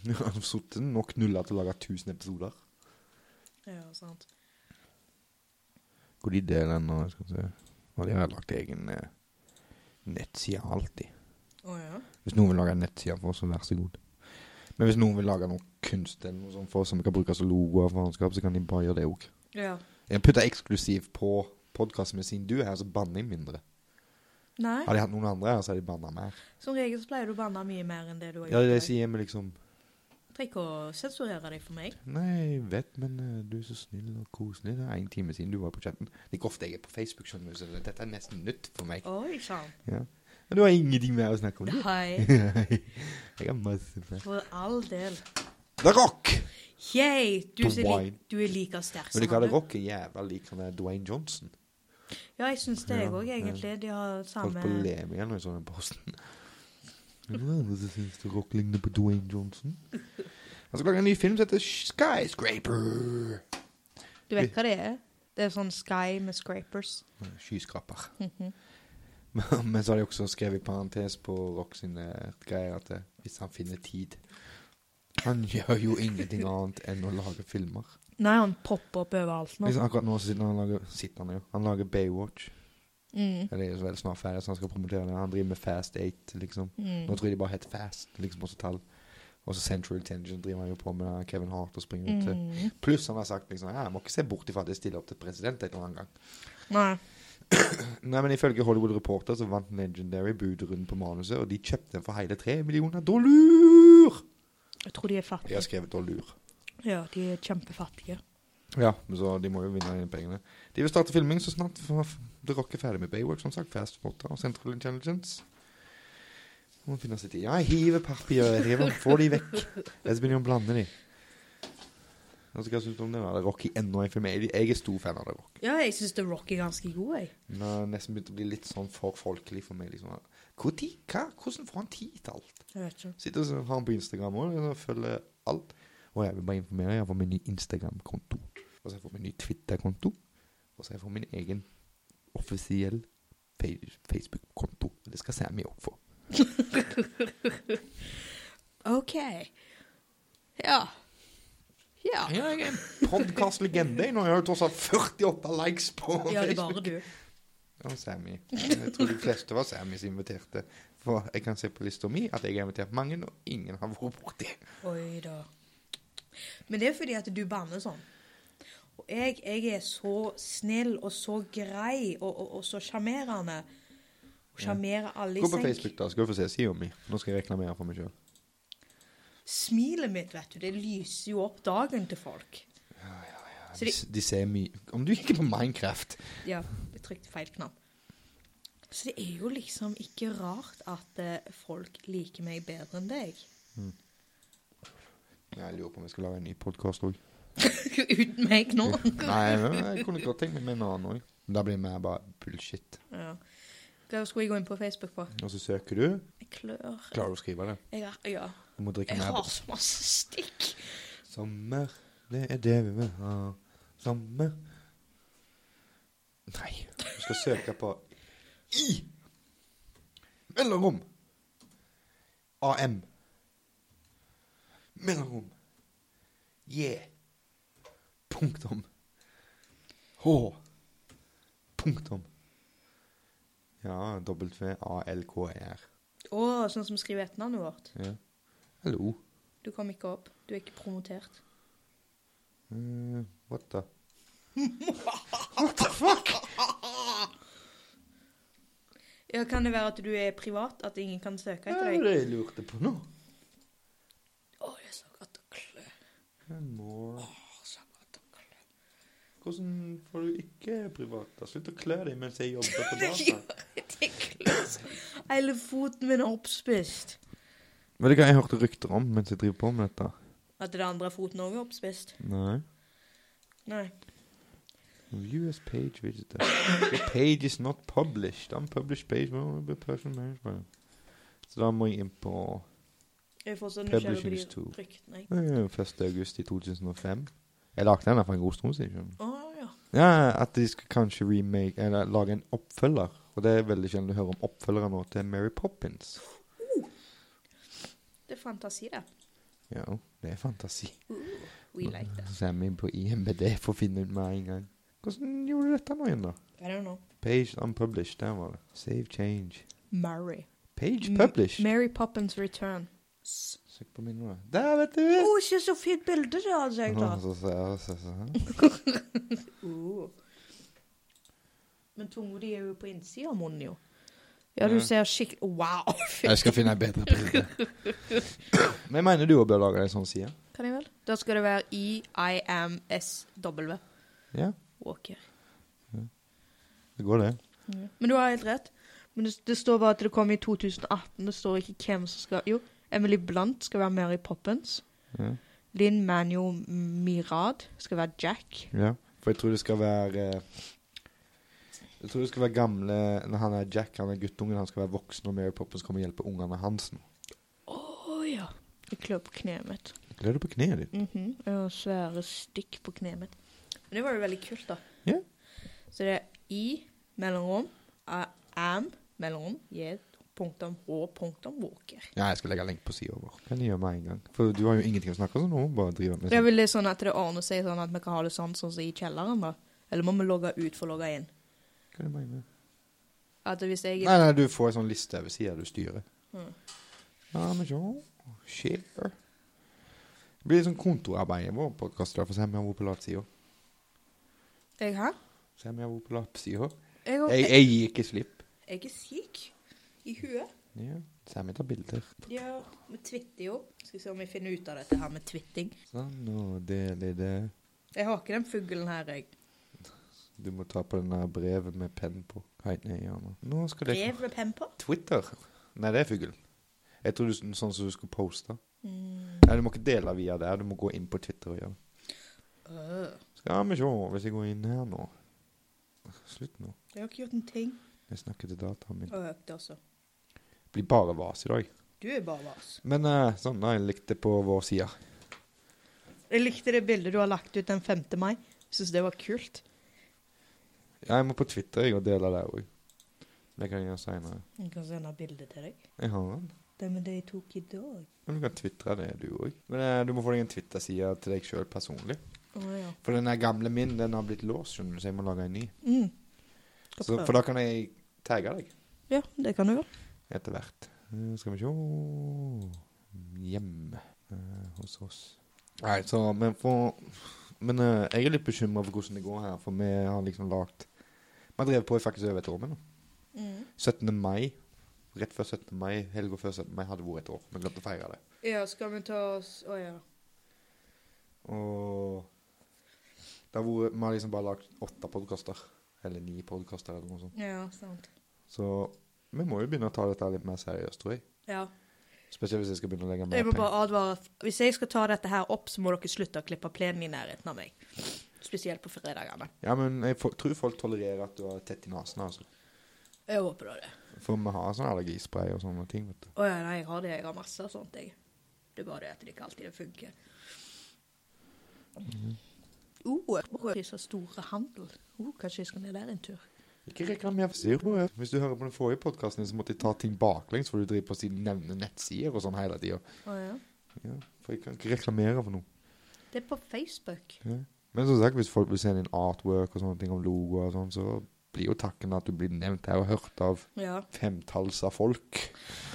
Speaker 1: Hun har sittet nok nuller til å lage 1000 episoder.
Speaker 2: Ja, sant.
Speaker 1: Hvor de deler den, og jeg skal se Og de har lagt egen eh, nettside alltid.
Speaker 2: Å ja.
Speaker 1: Hvis noen vil lage en nettside for oss, så vær så god. Men hvis noen vil lage noe kunst eller noe sånt for oss som vi kan bruke som logoer for faenskap, så kan de bare gjøre det òg.
Speaker 2: Ja.
Speaker 1: Jeg putter eksklusivt på podkasten med sin du er her, så banner jeg mindre.
Speaker 2: Nei,
Speaker 1: Har de hatt noen andre her, så har de banna mer.
Speaker 2: som regel så pleier du å banne mye mer enn det du har
Speaker 1: Ja,
Speaker 2: gjort.
Speaker 1: det
Speaker 2: i dag.
Speaker 1: sier vi liksom
Speaker 2: Trenger ikke å sensurere deg for meg.
Speaker 1: Nei, jeg vet, men eh, du er så snill og koselig. Det er en time siden du var på chatten. Det er ikke ofte jeg er på Facebook, skjønner du, så det- dette er nesten nytt for meg.
Speaker 2: Oi sann.
Speaker 1: Ja. Men du har ingenting mer å snakke om, du?
Speaker 2: Hei.
Speaker 1: jeg har masse mer.
Speaker 2: For all del.
Speaker 1: The Rock!
Speaker 2: Yay! Du, som er li
Speaker 1: Dwayne.
Speaker 2: du er like sterk
Speaker 1: Men du hva, The
Speaker 2: han er.
Speaker 1: Rock er jævla lik han der Dwayne Johnson.
Speaker 2: Ja, jeg syns det, jeg
Speaker 1: Ja,
Speaker 2: òg,
Speaker 1: ja.
Speaker 2: egentlig. De har
Speaker 1: Holdt på å
Speaker 2: samme
Speaker 1: le meg igjen når jeg så den posten. Er det noen andre som synes The Rock ligner på Dwayne Johnson? Han skal lage en ny film som heter Skyscraper.
Speaker 2: Du vet hva det er? Det er sånn Sky med scrapers.
Speaker 1: Skyskraper.
Speaker 2: Mhm.
Speaker 1: Men men så har de også skrevet i parentes på Rock sine greier at eh, hvis han finner tid Han gjør jo ingenting annet enn å lage filmer.
Speaker 2: Nei, han popper opp overalt nå.
Speaker 1: Liksom akkurat nå så sitter han og lager Sitter han jo. Han lager Baywatch.
Speaker 2: Mm.
Speaker 1: Eller er så veldig snart ferdig, så han skal promotere det. Han driver med Fast 8, liksom. Nå
Speaker 2: Mm.
Speaker 1: tror jeg de bare heter Fast, liksom, også tall. Og så Central Tension driver han jo på med da Kevin Hart og springer ut til.
Speaker 2: Mm.
Speaker 1: Pluss han har sagt liksom ja, Jeg må ikke se bort ifra at jeg stiller opp til president en eller annen gang.
Speaker 2: Nei.
Speaker 1: Nei, men Ifølge Hollywood Reporter så vant Legendary budrunden på manuset, og de kjøpte den for hele tre millioner dollar!
Speaker 2: Jeg tror de er
Speaker 1: Jeg har
Speaker 2: fattige.
Speaker 1: skrevet dollar.
Speaker 2: Ja, de er kjempefattige.
Speaker 1: Ja, men så de må jo vinne de pengene. De vil starte filming så snart for- The Rock er ferdig med Baywatch, som sagt. Fast Spotter og Central Intelligence. Må finne sitt i. Ja, jeg hiver papiret. Jeg hiver. Få de vekk. Ellers begynner jeg å blande de. Altså, hva syns du om det? da? The Rock i enda en film? Jeg jeg er stor fan av The Rock.
Speaker 2: Ja, jeg syns The Rock er ganske god, jeg.
Speaker 1: Den har nesten begynt å bli litt sånn for folkelig for meg. liksom. Hvor tid? Hva? Hvordan får han tid til alt?
Speaker 2: Jeg vet ikke.
Speaker 1: Sitter og så har han på Instagram òg. og Følger alt. Og jeg vil bare informere. Jeg har fått min ny Instagram-konto. Og så har jeg fått min ny Twitter-konto. Og så har jeg fått min egen offisiell fe- Facebook-konto. Og Det skal Sammy òg få.
Speaker 2: OK. Ja. Ja.
Speaker 1: Ja, jeg er en podkast-legende. Ah, Nå har jeg jo tross alt 48 likes på
Speaker 2: Ja, det er bare du.
Speaker 1: Og Sammy. Jeg tror de fleste var Sammy som inviterte. For jeg kan se på lista mi at jeg har invitert mange, og ingen har vært borti.
Speaker 2: Oi da. Men det er fordi at du banner sånn. Og jeg, jeg er så snill og så grei og, og, og så sjarmerende. Og Sjarmerer alle i
Speaker 1: Gå på
Speaker 2: senk.
Speaker 1: Facebook, da, skal du få se sida mi. Nå skal jeg reklamere for meg sjøl.
Speaker 2: Smilet mitt, vet du, det lyser jo opp dagen til folk. Så
Speaker 1: De,
Speaker 2: de-
Speaker 1: de ser mye Om du ikke er på Minecraft
Speaker 2: Ja, jeg trykte feil knapp. Så det er jo liksom ikke rart at eh, folk liker meg bedre enn deg.
Speaker 1: Jeg lurer på om jeg skal lage en ny podkast òg.
Speaker 2: Uten meg nå.
Speaker 1: Nei, men jeg kunne godt tenkt meg med en annen òg. Da blir det mer bare bullshit.
Speaker 2: Ja. Hva skulle jeg gå inn på Facebook på?
Speaker 1: Og så søker du.
Speaker 2: Jeg klør.
Speaker 1: Klarer du å skrive det?
Speaker 2: Jeg, har- ja.
Speaker 1: Du må drikke
Speaker 2: jeg
Speaker 1: mer.
Speaker 2: har så masse stikk.
Speaker 1: Sommer, det er det vi vil ha. Sommer Nei. Du skal søke på I mellomrom AM mellomrom J punktum H punktum Ja, W-A-L-K-R.
Speaker 2: Å, sånn som vi skriver etternavnet vårt.
Speaker 1: E, Ja. Hallo.
Speaker 2: Du kom ikke opp. Du er ikke promotert.
Speaker 1: Eh, what the What the fuck?
Speaker 2: Ja, Kan det være at du er privat? At ingen kan søke
Speaker 1: Hva
Speaker 2: etter
Speaker 1: er
Speaker 2: deg?
Speaker 1: det jeg lurte på nå?
Speaker 2: Å, det er så godt å klø.
Speaker 1: More.
Speaker 2: Å, så godt å klø.
Speaker 1: Hvordan får du ikke privat? da? Slutt å klø deg mens jeg jobber på
Speaker 2: Det
Speaker 1: data.
Speaker 2: gjør det kløs. Hele foten min er oppspist.
Speaker 1: Vet du hva jeg hørte rykter om mens jeg driver på med dette?
Speaker 2: At den andre foten òg er oppspist?
Speaker 1: Nei.
Speaker 2: Nei.
Speaker 1: View as page visitor. The page is not published. Unpublished page will be person managed by Så da må jeg inn på
Speaker 2: Jeg får sånn nysgjerrig på
Speaker 1: Publishing is
Speaker 2: de
Speaker 1: too.
Speaker 2: ryktene.
Speaker 1: eh,
Speaker 2: jeg.
Speaker 1: 1. august i 2005. Jeg lagde den her for en god stund siden. skjønner du.
Speaker 2: Å ja.
Speaker 1: Ja, at de skal kanskje remake, eller lage en oppfølger. Og det er veldig sjelden du hører om oppfølgere nå til Mary Poppins.
Speaker 2: Det er fantasi, det.
Speaker 1: Ja, det er fantasi.
Speaker 2: We like that.
Speaker 1: Så er vi på IMBD for å finne ut med en gang. Hvordan gjorde du dette nå igjen, da?
Speaker 2: I don't know.
Speaker 1: Page unpublished, der var det. Save change.
Speaker 2: Mary. Mm,
Speaker 1: Page published.
Speaker 2: Mary Poppins Return. S-
Speaker 1: Søk på minnet. da. Der, vet du!
Speaker 2: Å, se så fint bilde Oh, det hadde jeg
Speaker 1: Å,
Speaker 2: tatt.
Speaker 1: så, så, så, så.
Speaker 2: Å. Men tunga di er jo på innsida av munnen, jo. Ja, du ser skikkelig Wow!
Speaker 1: Jeg skal finne en bedre bilde. Men jeg mener du òg bør lage en sånn side?
Speaker 2: Kan jeg vel? Da skal det være E E-I-M-S-W.
Speaker 1: Ja,
Speaker 2: Walker.
Speaker 1: det går, det.
Speaker 2: Men du har helt rett. Men det, det står bare at det kom i 2018. Det står ikke hvem som skal Jo, Emily Blunt skal være Mary Poppins.
Speaker 1: Ja.
Speaker 2: Linn Manuel Mirad skal være Jack.
Speaker 1: Ja, for jeg tror det skal være eh, Jeg tror det skal være gamle Når han er Jack, han er guttungen, han skal være voksen, og Mary Poppins kommer og hjelper ungene hans nå.
Speaker 2: Å ja. Jeg klør på kneet mitt.
Speaker 1: Gleder du på kneet ditt?
Speaker 2: Mhm, Jeg har svære stykk på kneet mitt. Men det var jo veldig kult, da.
Speaker 1: Ja.
Speaker 2: Så det er I mellomrom, A- am mellomrom, J punktum H punktum Walker.
Speaker 1: Ja, jeg skal legge lenke på sida vår. Kan jeg gjøre med en gang? For du har jo ingenting å snakke om, så nå må vi bare drive med
Speaker 2: Det er vel litt sånn at det ordner seg sånn at vi kan ha det sånn sånn som i kjelleren, da. Eller må vi logge ut for å logge inn?
Speaker 1: Hva er det du mener?
Speaker 2: At hvis jeg
Speaker 1: Nei, nei, du får en sånn liste over sida du styrer.
Speaker 2: Mm.
Speaker 1: Ja, men så Share. Det blir litt sånn kontorarbeid i vår podkast, for så har vi har vært på latsida.
Speaker 2: Jeg her?
Speaker 1: Så har vi vært på latsida.
Speaker 2: Jeg,
Speaker 1: Jeg,
Speaker 2: jeg,
Speaker 1: jeg gir ikke slipp.
Speaker 2: jeg er syk i huet.
Speaker 1: Ja. Så har vi tatt bilder.
Speaker 2: Ja, vi twitter jo. Skal vi se om vi finner ut av dette her med twitting.
Speaker 1: Sånn, og del i det.
Speaker 2: Jeg har ikke den fuglen her, jeg.
Speaker 1: Du må ta på den der brevet med penn på. Helt ned i hjørnet. Nå skal det
Speaker 2: Brev med penn på.
Speaker 1: Twitter. Nei, det er fuglen. Jeg tror du, sånn som du skulle poste.
Speaker 2: Mm.
Speaker 1: Nei, du må ikke dele via der. Du må gå inn på Twitter og gjøre det.
Speaker 2: Øh.
Speaker 1: Skal vi se hvis jeg går inn her nå. Slutt nå.
Speaker 2: Jeg har ikke gjort en ting.
Speaker 1: Jeg snakker til dataen min.
Speaker 2: Og økte også.
Speaker 1: Blir bare vas i dag.
Speaker 2: Du er bare vars.
Speaker 1: Men eh, sånn, da. Jeg likte på vår side.
Speaker 2: Jeg likte det bildet du har lagt ut den 5. mai. Jeg syns det var kult.
Speaker 1: Ja, jeg må på Twitter jeg, og dele der òg. Det kan jeg gjøre seinere.
Speaker 2: Jeg kan sende bilde til deg.
Speaker 1: Jeg har den.
Speaker 2: Det med det jeg tok i dag.
Speaker 1: Men du kan tvitre det, du òg. Men eh, du må få deg en Twitter-side til deg sjøl personlig.
Speaker 2: Å ja.
Speaker 1: For den der gamle min, den har blitt låst, skjønner du, så jeg må lage en ny.
Speaker 2: Mm. Skal
Speaker 1: Så,
Speaker 2: prøve.
Speaker 1: for da kan jeg tagge deg
Speaker 2: Ja, det kan du gjøre.
Speaker 1: etter hvert. Eh, Skal vi se Hjemme eh, hos oss. Nei, så Men, for, men eh, jeg er litt bekymra for hvordan det går her, for vi har liksom lagd Vi har drevet på i faktisk over et år med nå.
Speaker 2: Mm.
Speaker 1: 17. mai. Rett før 17. mai, helga før 17. mai hadde vært et år. Vi glemte å feire det.
Speaker 2: Ja, skal vi ta oss Å ja.
Speaker 1: Og det har vært, vi har liksom bare lagd åtte podkaster. Eller ni podkaster, eller noe sånt.
Speaker 2: Ja, sant.
Speaker 1: Så vi må jo begynne å ta dette litt mer seriøst, tror jeg.
Speaker 2: Ja.
Speaker 1: Spesielt hvis jeg skal begynne å legge
Speaker 2: Jeg
Speaker 1: mer
Speaker 2: må
Speaker 1: penger.
Speaker 2: bare advare. Hvis jeg skal ta dette her opp, så må dere slutte å klippe plenen i nærheten av meg. Spesielt på fredagene.
Speaker 1: Ja, men jeg fo- tror folk tolererer at du har tett i nesen, altså.
Speaker 2: Jeg håper da det.
Speaker 1: For vi har sånn allergispray og sånne ting, vet du.
Speaker 2: Å ja, nei, jeg har det. Jeg har masse sånt, jeg. Det er bare det at det ikke alltid det funker.
Speaker 1: Mhm.
Speaker 2: Å, oh, så store handel. Oh, kanskje jeg skal ned der en tur.
Speaker 1: Ikke reklamer for Zero. ja. Hvis du hører på den forrige podkasten, så måtte jeg ta ting baklengs, for du driver på å si nevne nettsider og sånn hele tida.
Speaker 2: Å, ja.
Speaker 1: Ja, for jeg kan ikke reklamere for noe.
Speaker 2: Det er på Facebook.
Speaker 1: Ja. Men som sagt, hvis folk vil sende inn artwork og sånne ting om logoer og sånn, så blir jo takken at du blir nevnt her og hørt av
Speaker 2: Ja.
Speaker 1: femtalls av folk.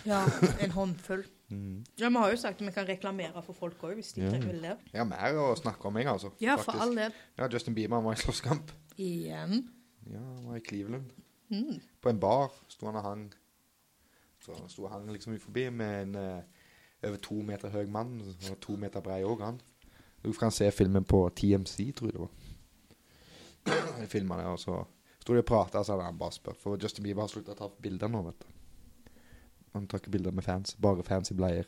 Speaker 2: ja en håndfull.
Speaker 1: Mm.
Speaker 2: Ja, vi har jo sagt at vi kan reklamere for folk òg, hvis de
Speaker 1: Ja.
Speaker 2: vil det.
Speaker 1: Jeg har mer å snakke om, jeg, altså.
Speaker 2: Ja, for all del.
Speaker 1: Ja, Justin Bieber var i slåsskamp.
Speaker 2: Igjen.
Speaker 1: Ja, han var i Cleveland.
Speaker 2: Mm.
Speaker 1: På en bar sto han og hang. Så han sto og hang liksom forbi med en eh, over to meter høy mann, og to meter brei òg, han. Du kan se filmen på TMC, tror jeg det var. De filma det, og så sto de og prata, så hadde han bare spurt. For Justin Bieber har slutta å ta bilder nå, vet du. Han tar ikke bilder med fans, bare fans i bleier.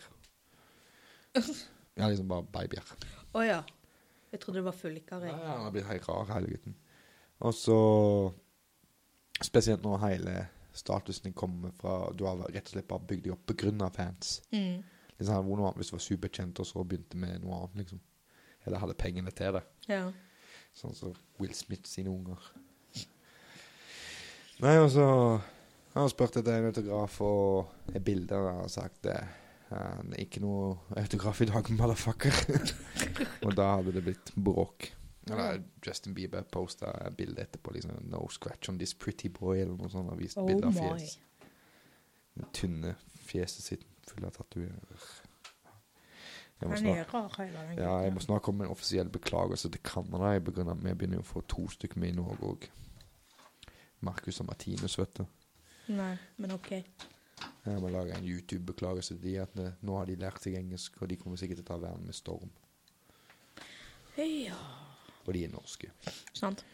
Speaker 1: Ja, liksom bare babyer.
Speaker 2: Å ja. Jeg trodde det var fulliker.
Speaker 1: Nei,
Speaker 2: jeg.
Speaker 1: han har blitt helt rar, hele gutten. Og så Spesielt når hele statusen din kommer fra Du har rett og slett bare bygd deg opp begrunna fans.
Speaker 2: Mm.
Speaker 1: Liksom, han var noe annet hvis du var superkjent, og så begynte med noe annet, liksom. Eller hadde pengene til det.
Speaker 2: Ja.
Speaker 1: Sånn som Will Smith sine unger. Nei, og så Han har spurt etter en autograf og et bilde, og han har sagt det. Ikke noe autograf i dag, motherfucker. og da hadde det blitt bråk. Eller Justin Bieber posta bilde etterpå. liksom, 'No scratch on this pretty boy', eller noe sånt. Og vist
Speaker 2: Oh
Speaker 1: bilde av
Speaker 2: my.
Speaker 1: fjes. Det tynne fjeset sitt fullt av tatoveringer. Jeg må
Speaker 2: Han
Speaker 1: snart-
Speaker 2: er rar, hele den
Speaker 1: ja, jeg
Speaker 2: gutten.
Speaker 1: må snart komme med en offisiell beklagelse til Canada. Jeg begrunner at vi begynner jo å få to stykker med i Norge òg. Marcus og Martinus, vet du.
Speaker 2: Nei, men OK.
Speaker 1: Jeg må lage en YouTube-beklagelse til de at eh, nå har de lært seg engelsk, og de kommer sikkert til å ta verden med storm.
Speaker 2: Ja.
Speaker 1: Og de er norske.
Speaker 2: Sant.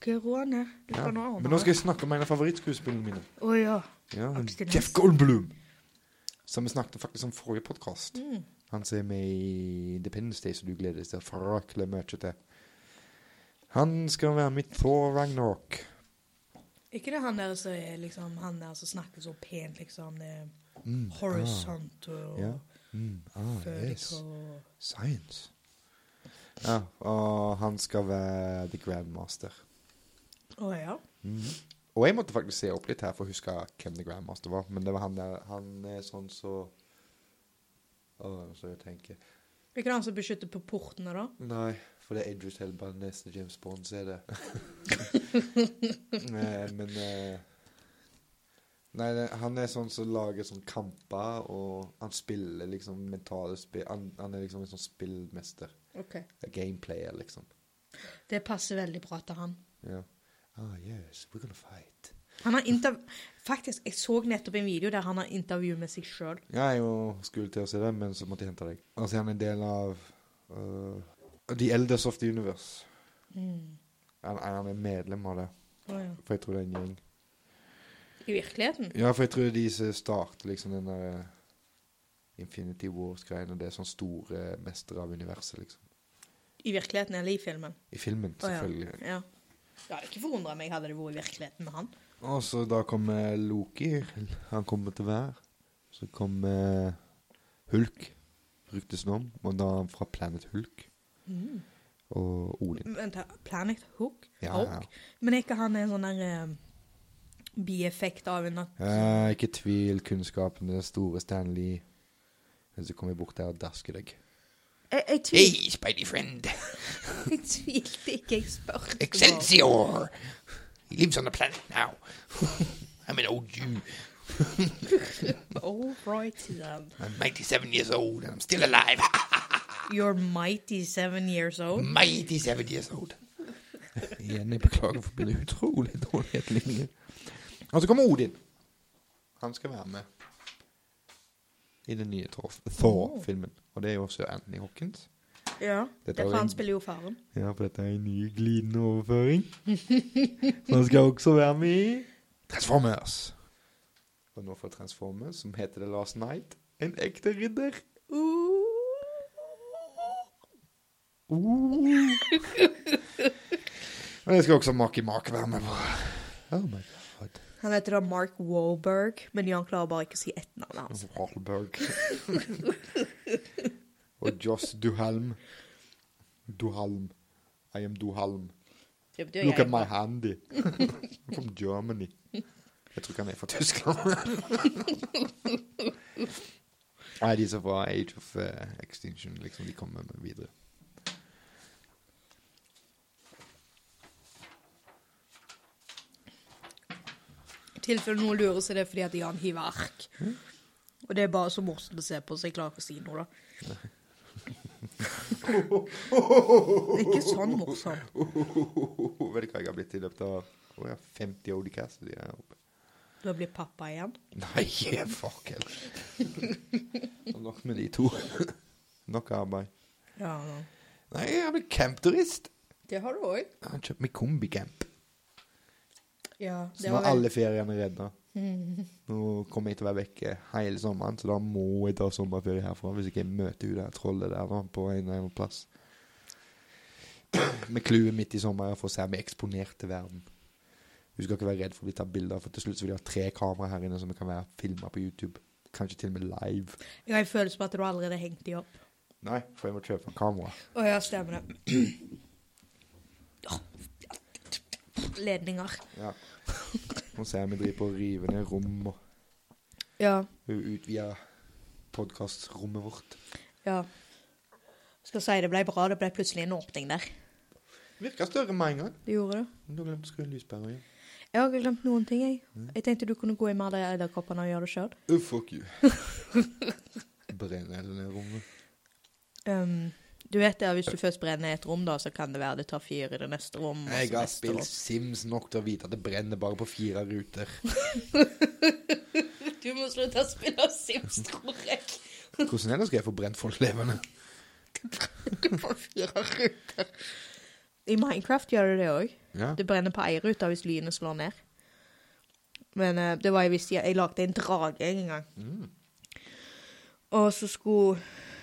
Speaker 2: Hva er råene? Du
Speaker 1: Ja.
Speaker 2: kan nå
Speaker 1: Men nå skal jeg snakke om en av favorittskuespillene mine.
Speaker 2: Å ja.
Speaker 1: Ja,
Speaker 2: Aksel Hennie.
Speaker 1: Jeff Goldblum! Som vi snakket faktisk om forrige podkast.
Speaker 2: Mm.
Speaker 1: Han som er med i Independence Day, som du gleder deg fryktelig mye til. Han skal være mitt Thor Ragnarok.
Speaker 2: Ikke det han der som er liksom Han der som snakker så pent, liksom. Det er
Speaker 1: Mm,
Speaker 2: horisont og
Speaker 1: Ja. Mm, ah, yes.
Speaker 2: vertical og-
Speaker 1: Science. Ja, og han skal være the grandmaster.
Speaker 2: Å ja.
Speaker 1: Mm. Og jeg måtte faktisk se opp litt her for å huske hvem the grandmaster var. Men det var han der Han er sånn så Åh, så jeg tenker
Speaker 2: Ikke det han som beskytter på portene, da?
Speaker 1: Nei, for det er Idris Elba neste James Bond, så er det. Eh, men eh, Nei, det- han er sånn som lager sånn kamper, og han spiller liksom mentale spill han, han er liksom en sånn spillmester.
Speaker 2: Ok.
Speaker 1: A gameplayer, liksom.
Speaker 2: Det passer veldig bra til han.
Speaker 1: Ja. Ah, yes, we're gonna fight.
Speaker 2: Han har interv... Faktisk, jeg så nettopp en video der han har intervju med seg sjøl.
Speaker 1: Jeg er jo skulle til å se det, men så måtte jeg hente deg. Altså, han er en del av øh, The Elders of the Universe.
Speaker 2: Mm.
Speaker 1: Han, han er medlem av det,
Speaker 2: Å ja.
Speaker 1: for jeg tror det er en gjeng.
Speaker 2: I virkeligheten?
Speaker 1: Ja, for jeg tror de som starter liksom den der øh, Infinity Wars-greiene, det er sånn store mestere av universet, liksom.
Speaker 2: I virkeligheten eller i filmen?
Speaker 1: I filmen,
Speaker 2: Å, ja.
Speaker 1: selvfølgelig.
Speaker 2: Ja. ja ikke forundra meg hadde det vært i virkeligheten med han.
Speaker 1: Og så da kommer Loki. Han kommer til hver. Så kommer Hulk, ryktes det om. Og da er han fra Planet Hulk.
Speaker 2: Mm.
Speaker 1: Og Odin.
Speaker 2: Vent, her, Planet Hook?
Speaker 1: Ja,
Speaker 2: Hulk?
Speaker 1: ja.
Speaker 2: Men er ikke han en sånn der eh, bieffekt av en nat...
Speaker 1: Eh, ikke tvil kunnskapen til den store Stanley. Men så kommer jeg bort der og dasker deg.
Speaker 2: Jeg, jeg, tvil,
Speaker 3: Hey, Spidey friend.
Speaker 2: jeg tvilte ikke, jeg spurte. bare.
Speaker 3: Excelsior! He lives on the planet now. I'm an old Jew.
Speaker 2: All Oh, right, then.
Speaker 3: I'm 97 years old and I'm still alive.
Speaker 2: You're mighty seven years old.
Speaker 1: Mm.
Speaker 3: I'm 87 years old.
Speaker 1: Igjen, jeg beklager for mine utrolig dårlige etterligninger. Og så kommer Odin. Han skal være med i den nye Thor- Thor-filmen. Og det er jo også Anthony Hopkins.
Speaker 2: Ja, det
Speaker 1: Dette
Speaker 2: er
Speaker 1: var
Speaker 2: for han
Speaker 1: en-
Speaker 2: spiller jo faren.
Speaker 1: Ja, for dette er en ny glidende overføring. Så han skal også være med i Transformers. Og nå for Transformers, som heter The Last Night, en ekte ridder.
Speaker 2: Uh,
Speaker 1: Uh. Og det skal også Maki Mak være med på. Oh my god.
Speaker 2: han heter da Mark Wahlberg, men han klarer bare ikke å si etternavnet hans.
Speaker 1: Wahlberg. Og Joss Duhalm. Duhalm. I am Duhalm.
Speaker 2: Det betyr
Speaker 1: Look
Speaker 2: jeg-
Speaker 1: at my handy. From Germany. Jeg tror ikke han er fra Tyskland. Nei, de som er fra Age of eh, Extinction, liksom, de kommer med videre.
Speaker 2: I tilfelle noen lurer, så er det fordi at Jan hiver ark. Og det er bare så morsomt å se på, så jeg klarer ikke å si noe, da. Det er ikke sånn morsomt.
Speaker 1: Vet du hva jeg har blitt i løpet av Å ja, 50 Odie Cassidy her oppe?
Speaker 2: Da blir pappa igjen.
Speaker 1: Nei, yeah, fuck heller. Nok med de to. Nok arbeid.
Speaker 2: Ja, ja.
Speaker 1: Nei, jeg har blitt campturist.
Speaker 2: Det har du òg.
Speaker 1: Jeg har kjøpt meg kombicamp.
Speaker 2: Ja,
Speaker 1: Så nå er alle feriene redda. Nå kommer jeg til å være vekke hele sommeren, så da må jeg ta sommerferie herfra hvis ikke jeg møter hun der trollet der da, på en eller annen plass. Med clouet midt i sommeren for å se meg eksponert til verden. Du skal ikke være redd for å bli tatt bilder av, for til slutt så vil jeg ha tre kameraer her inne som kan være filma på YouTube. Kanskje til og med live.
Speaker 2: Jeg har en følelse på at du allerede har hengt de opp.
Speaker 1: Nei, for jeg må kjøpe en kamera.
Speaker 2: Å ja, stemmer det. Ledninger.
Speaker 1: Ja. Nå ser jeg vi driver på å rive ned rom og
Speaker 2: Ja.
Speaker 1: utvide podkastrommet vårt.
Speaker 2: Ja. Skal si det ble bra. Det ble plutselig en åpning der.
Speaker 1: Virka større med en gang.
Speaker 2: Det gjorde det.
Speaker 1: Men Du har glemt å skru lyspæra igjen.
Speaker 2: Jeg har ikke glemt noen ting, jeg. Jeg tenkte du kunne gå i med de edderkoppene og gjøre det sjøl.
Speaker 1: Oh, fuck you. Brenner hele ned rommet.
Speaker 2: Um, du vet det, hvis du først brenner et rom, da, så kan det være det tar fyr i det neste rom. og
Speaker 1: Jeg
Speaker 2: så
Speaker 1: har
Speaker 2: neste
Speaker 1: spilt Sims nok til å vite at det brenner bare på fire ruter.
Speaker 2: rom. Du må slutte å spille Sims, tror jeg.
Speaker 1: Hvordan ellers skal jeg få brent folk levende?
Speaker 2: Du får fire ruter. I Minecraft gjør du det òg.
Speaker 1: Ja.
Speaker 2: Det brenner på ei rute hvis lynet slår ned. Men eh, det var jeg visste Jeg lagde en drage en gang.
Speaker 1: Mm.
Speaker 2: Og så skulle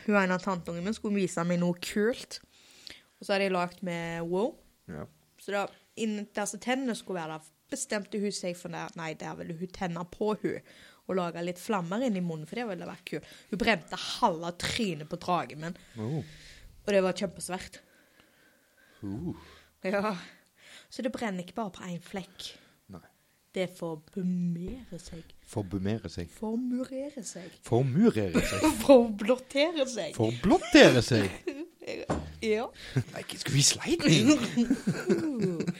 Speaker 2: hun ene av tanteungene mine skulle vise meg noe kult. Og så hadde jeg lagd med wow.
Speaker 1: ja.
Speaker 2: Så da, innen disse tennene skulle være der, bestemte hun seg for det. Nei, der ville hun tenne på hun og lage litt flammer inn i munnen, for det ville vært kult. Hun brente halve trynet på dragen min,
Speaker 1: Oh.
Speaker 2: og det var kjempesvært.
Speaker 1: Uh.
Speaker 2: Ja. Så det brenner ikke bare på én flekk.
Speaker 1: Nei.
Speaker 2: Det forbumere seg.
Speaker 1: Forbumere seg.
Speaker 2: Formurere seg.
Speaker 1: Formurere seg.
Speaker 2: Forblottere seg.
Speaker 1: Forblottere seg.
Speaker 2: Ja.
Speaker 1: Like it's grease lightning. Uh.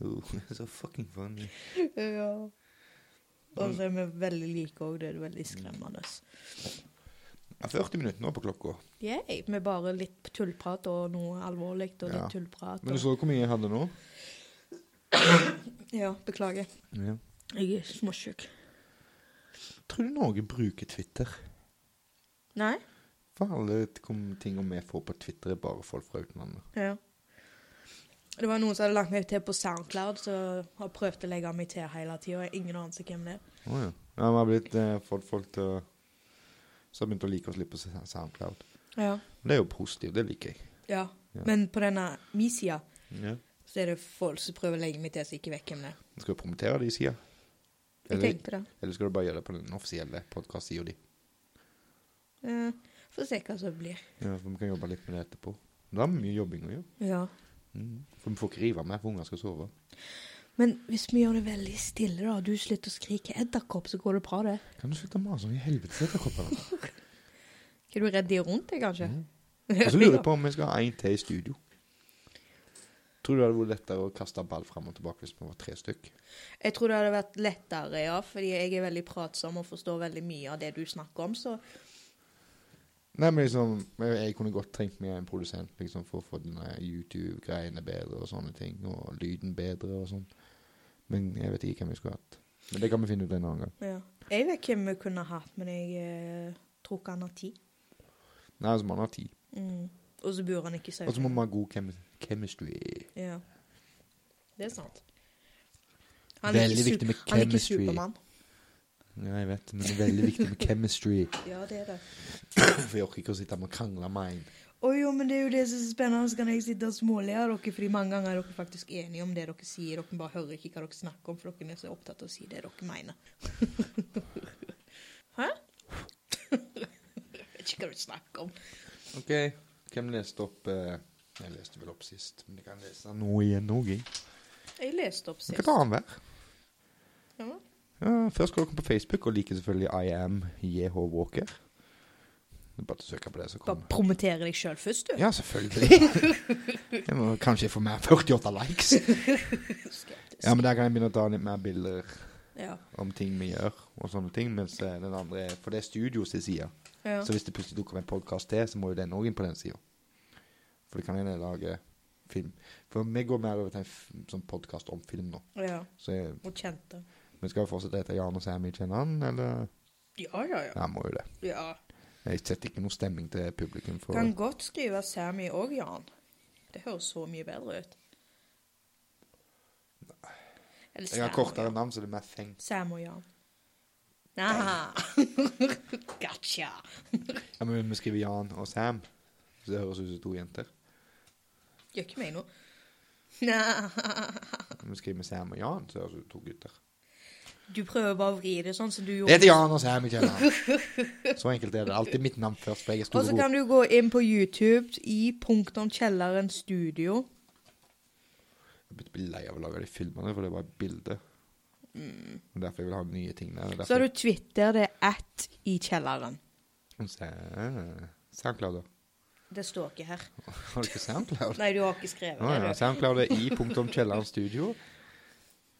Speaker 1: oh, so fucking funny.
Speaker 2: ja. Og så er vi veldig like òg. Det er veldig skremmende.
Speaker 1: 40 minutter nå på klokka.
Speaker 2: Yay. Med bare litt tullprat og noe alvorlig og litt
Speaker 1: Ja.
Speaker 2: tullprat.
Speaker 1: Men du
Speaker 2: Og...
Speaker 1: så hvor mye jeg hadde nå?
Speaker 2: Ja, beklager.
Speaker 1: Ja.
Speaker 2: Jeg er småsjuk.
Speaker 1: Tror du Norge bruker Twitter?
Speaker 2: Nei?
Speaker 1: For alle t- kom- tingene vi får på Twitter, er bare folk fra utlandet.
Speaker 2: Ja. Det var noen som hadde lagt meg til på SoundCloud, så har prøvd å legge meg til hele tida. Ingen anelse hvem det er.
Speaker 1: Å ja. ja. Vi har blitt eh, fått folk til å Så har begynt å like oss litt på Sa- SoundCloud.
Speaker 2: Ja.
Speaker 1: Det er jo positivt. Det liker jeg.
Speaker 2: ja.
Speaker 1: Ja.
Speaker 2: Men på denne mi sida
Speaker 1: Ja.
Speaker 2: så er det folk som prøver å legge meg til, så jeg ikke vet hvem det er.
Speaker 1: Skal du promotere de sida?
Speaker 2: Jeg
Speaker 1: Eller,
Speaker 2: tenkte det.
Speaker 1: eller skal du bare gjøre det på den offisielle podkast-sida di?
Speaker 2: Eh, Får se hva som blir.
Speaker 1: Ja, for vi kan jobbe litt med det etterpå. Da har vi mye jobbing å gjøre.
Speaker 2: Ja.
Speaker 1: Mm. For vi får ikke rive mer, for unger skal sove.
Speaker 2: Men hvis vi gjør det veldig stille, da, og du slutter å skrike 'edderkopp', så går det bra, det.
Speaker 1: Kan du slutte å mase om i helvete edderkoppene?
Speaker 2: Er du redd de er rundt deg, kanskje?
Speaker 1: Mhm. Og så lurer jeg på om vi skal ha én til i studio. Tror du det hadde vært lettere å kaste ball fram og tilbake hvis vi var tre stykk?
Speaker 2: Jeg tror det hadde vært lettere, ja, fordi jeg er veldig pratsom og forstår veldig mye av det du snakker om, så
Speaker 1: Nei, men liksom, Jeg kunne godt trengt meg en produsent liksom, for å få denne YouTube-greiene bedre og sånne ting. Og lyden bedre og sånn. Men jeg vet ikke hvem vi skulle hatt. Men det kan vi finne ut en annen gang.
Speaker 2: ja. Jeg vet hvem vi kunne hatt, men jeg eh, tror ikke han har tid.
Speaker 1: Nei, altså, man har tid.
Speaker 2: Mm. Og så bor han ikke i
Speaker 1: Og så må
Speaker 2: Sauda.
Speaker 1: man ha god chem chemistry.
Speaker 2: Ja. Det er sant.
Speaker 1: Veldig viktig med
Speaker 2: Han er ikke
Speaker 1: chemistry.
Speaker 2: Supermann.
Speaker 1: Ja, jeg vet, men det er veldig viktig med chemistry.
Speaker 2: Ja, det er det.
Speaker 1: For jeg orker ikke å sitte med og krangle med en.
Speaker 2: Å jo, men det er jo det som er så spennende. Så kan jeg sitte og småle av dere, fordi mange ganger er dere faktisk enige om det dere sier. Dere bare hører ikke hva dere snakker om, for dere er så opptatt av å si det dere mener. Hæ? ikke hva du snakker om.
Speaker 1: OK. Hvem leste opp eh, Jeg leste vel opp sist, men jeg kan lese nå igjen nå, jeg.
Speaker 2: Jeg leste opp
Speaker 1: Vi
Speaker 2: sist.
Speaker 1: kan ta annenhver.
Speaker 2: Ja.
Speaker 1: Ja, først går dere på Facebook og liker selvfølgelig I am JH Walker. Det er Bare å søke på det, så
Speaker 2: Bare
Speaker 1: kommer
Speaker 2: promotere deg sjøl først, du.
Speaker 1: Ja, selvfølgelig. Jeg må kanskje få mer 48 likes.
Speaker 2: Skeptisk.
Speaker 1: Ja, men der kan jeg begynne å ta litt mer bilder
Speaker 2: Ja.
Speaker 1: om ting vi gjør, og sånne ting. Mens eh, den andre er For det er studio sin side.
Speaker 2: Ja.
Speaker 1: Så hvis det plutselig dukker opp en podkast til, så må jo den òg inn på den sida. For det kan hende jeg lager film. For vi går mer over til en f- sånn podkast om film nå.
Speaker 2: ja.
Speaker 1: Så jeg,
Speaker 2: Og kjente.
Speaker 1: vi skal jo fortsette etter Jan og Sammy kjenner han, eller?
Speaker 2: Ja, ja, ja.
Speaker 1: Ja, må jo det.
Speaker 2: ja.
Speaker 1: Jeg setter ikke noe stemming til publikum for
Speaker 2: Kan godt skrive Sammy og Jan. Det høres så mye bedre ut. Eller
Speaker 1: Jeg har
Speaker 2: Sam og
Speaker 1: kortere
Speaker 2: Jan.
Speaker 1: navn, så det er mer fengt.
Speaker 2: Sam og Jan. Aha. gotcha.
Speaker 1: Ja, men vi skriver Jan og Sam. Så det høres ut som to jenter.
Speaker 2: Gjør ikke meg noe. Nah.
Speaker 1: Vi skriver Sam og Jan, så høres det ut som to gutter.
Speaker 2: Du prøver bare å vri det sånn som du
Speaker 1: Det
Speaker 2: gjorde.
Speaker 1: heter Jan og Sam i kjelleren. Så enkelt er det. Alltid mitt navn først, for jeg er
Speaker 2: Og
Speaker 1: stor og
Speaker 2: så
Speaker 1: god.
Speaker 2: kan du gå inn på YouTube i punktum kjelleren studio.
Speaker 1: Jeg begynte å bli lei av å lage de filmene, for det var et bilde. Og Derfor jeg vil ha nye ting der.
Speaker 2: Mm. Så har du Twitter, det er at i kjelleren.
Speaker 1: du... Soundcloud, da.
Speaker 2: Det står ikke her.
Speaker 1: Har du ikke Soundcloud?
Speaker 2: Nei, du har ikke skrevet
Speaker 1: Å ja.
Speaker 2: det.
Speaker 1: Soundcloud er i punktum kjelleren studio.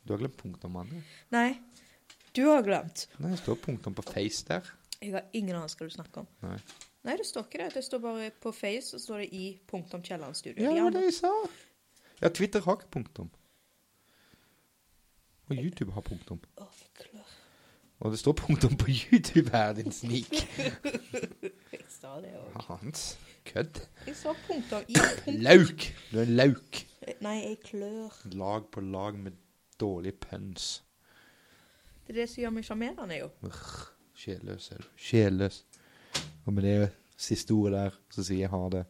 Speaker 1: Du har glemt punktum, Anne.
Speaker 2: Du. Nei, du har glemt.
Speaker 1: Nei, det står punktum på Face der.
Speaker 2: Jeg har ingen anelse hva du snakker om.
Speaker 1: Nei.
Speaker 2: Nei, det står ikke det. Det står bare på Face, så står det i punktum kjelleren studio.
Speaker 1: Ja, det
Speaker 2: De
Speaker 1: var det
Speaker 2: andre-
Speaker 1: jeg sa. Ja, Twitter har ikke punktum. Og YouTube har punktum.
Speaker 2: Å, forklart.
Speaker 1: Og det står punktum på YouTube her, din snik.
Speaker 2: Jeg sa det også.
Speaker 1: Hans. Kødd.
Speaker 2: Jeg sa punktum i punktum.
Speaker 1: Lauk. Du er en lauk.
Speaker 2: Nei, jeg klør.
Speaker 1: Lag på lag med dårlig pøns.
Speaker 2: Det er det som gjør meg sjarmerende, jo.
Speaker 1: Sjelløs er du. Sjelløs. Og med det siste ordet der, så sier jeg ha det.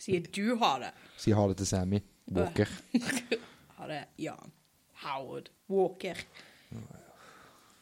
Speaker 2: Sier du har det.
Speaker 1: Sier ha det til Sammy Walker.
Speaker 2: Har det Jan Howard Walker.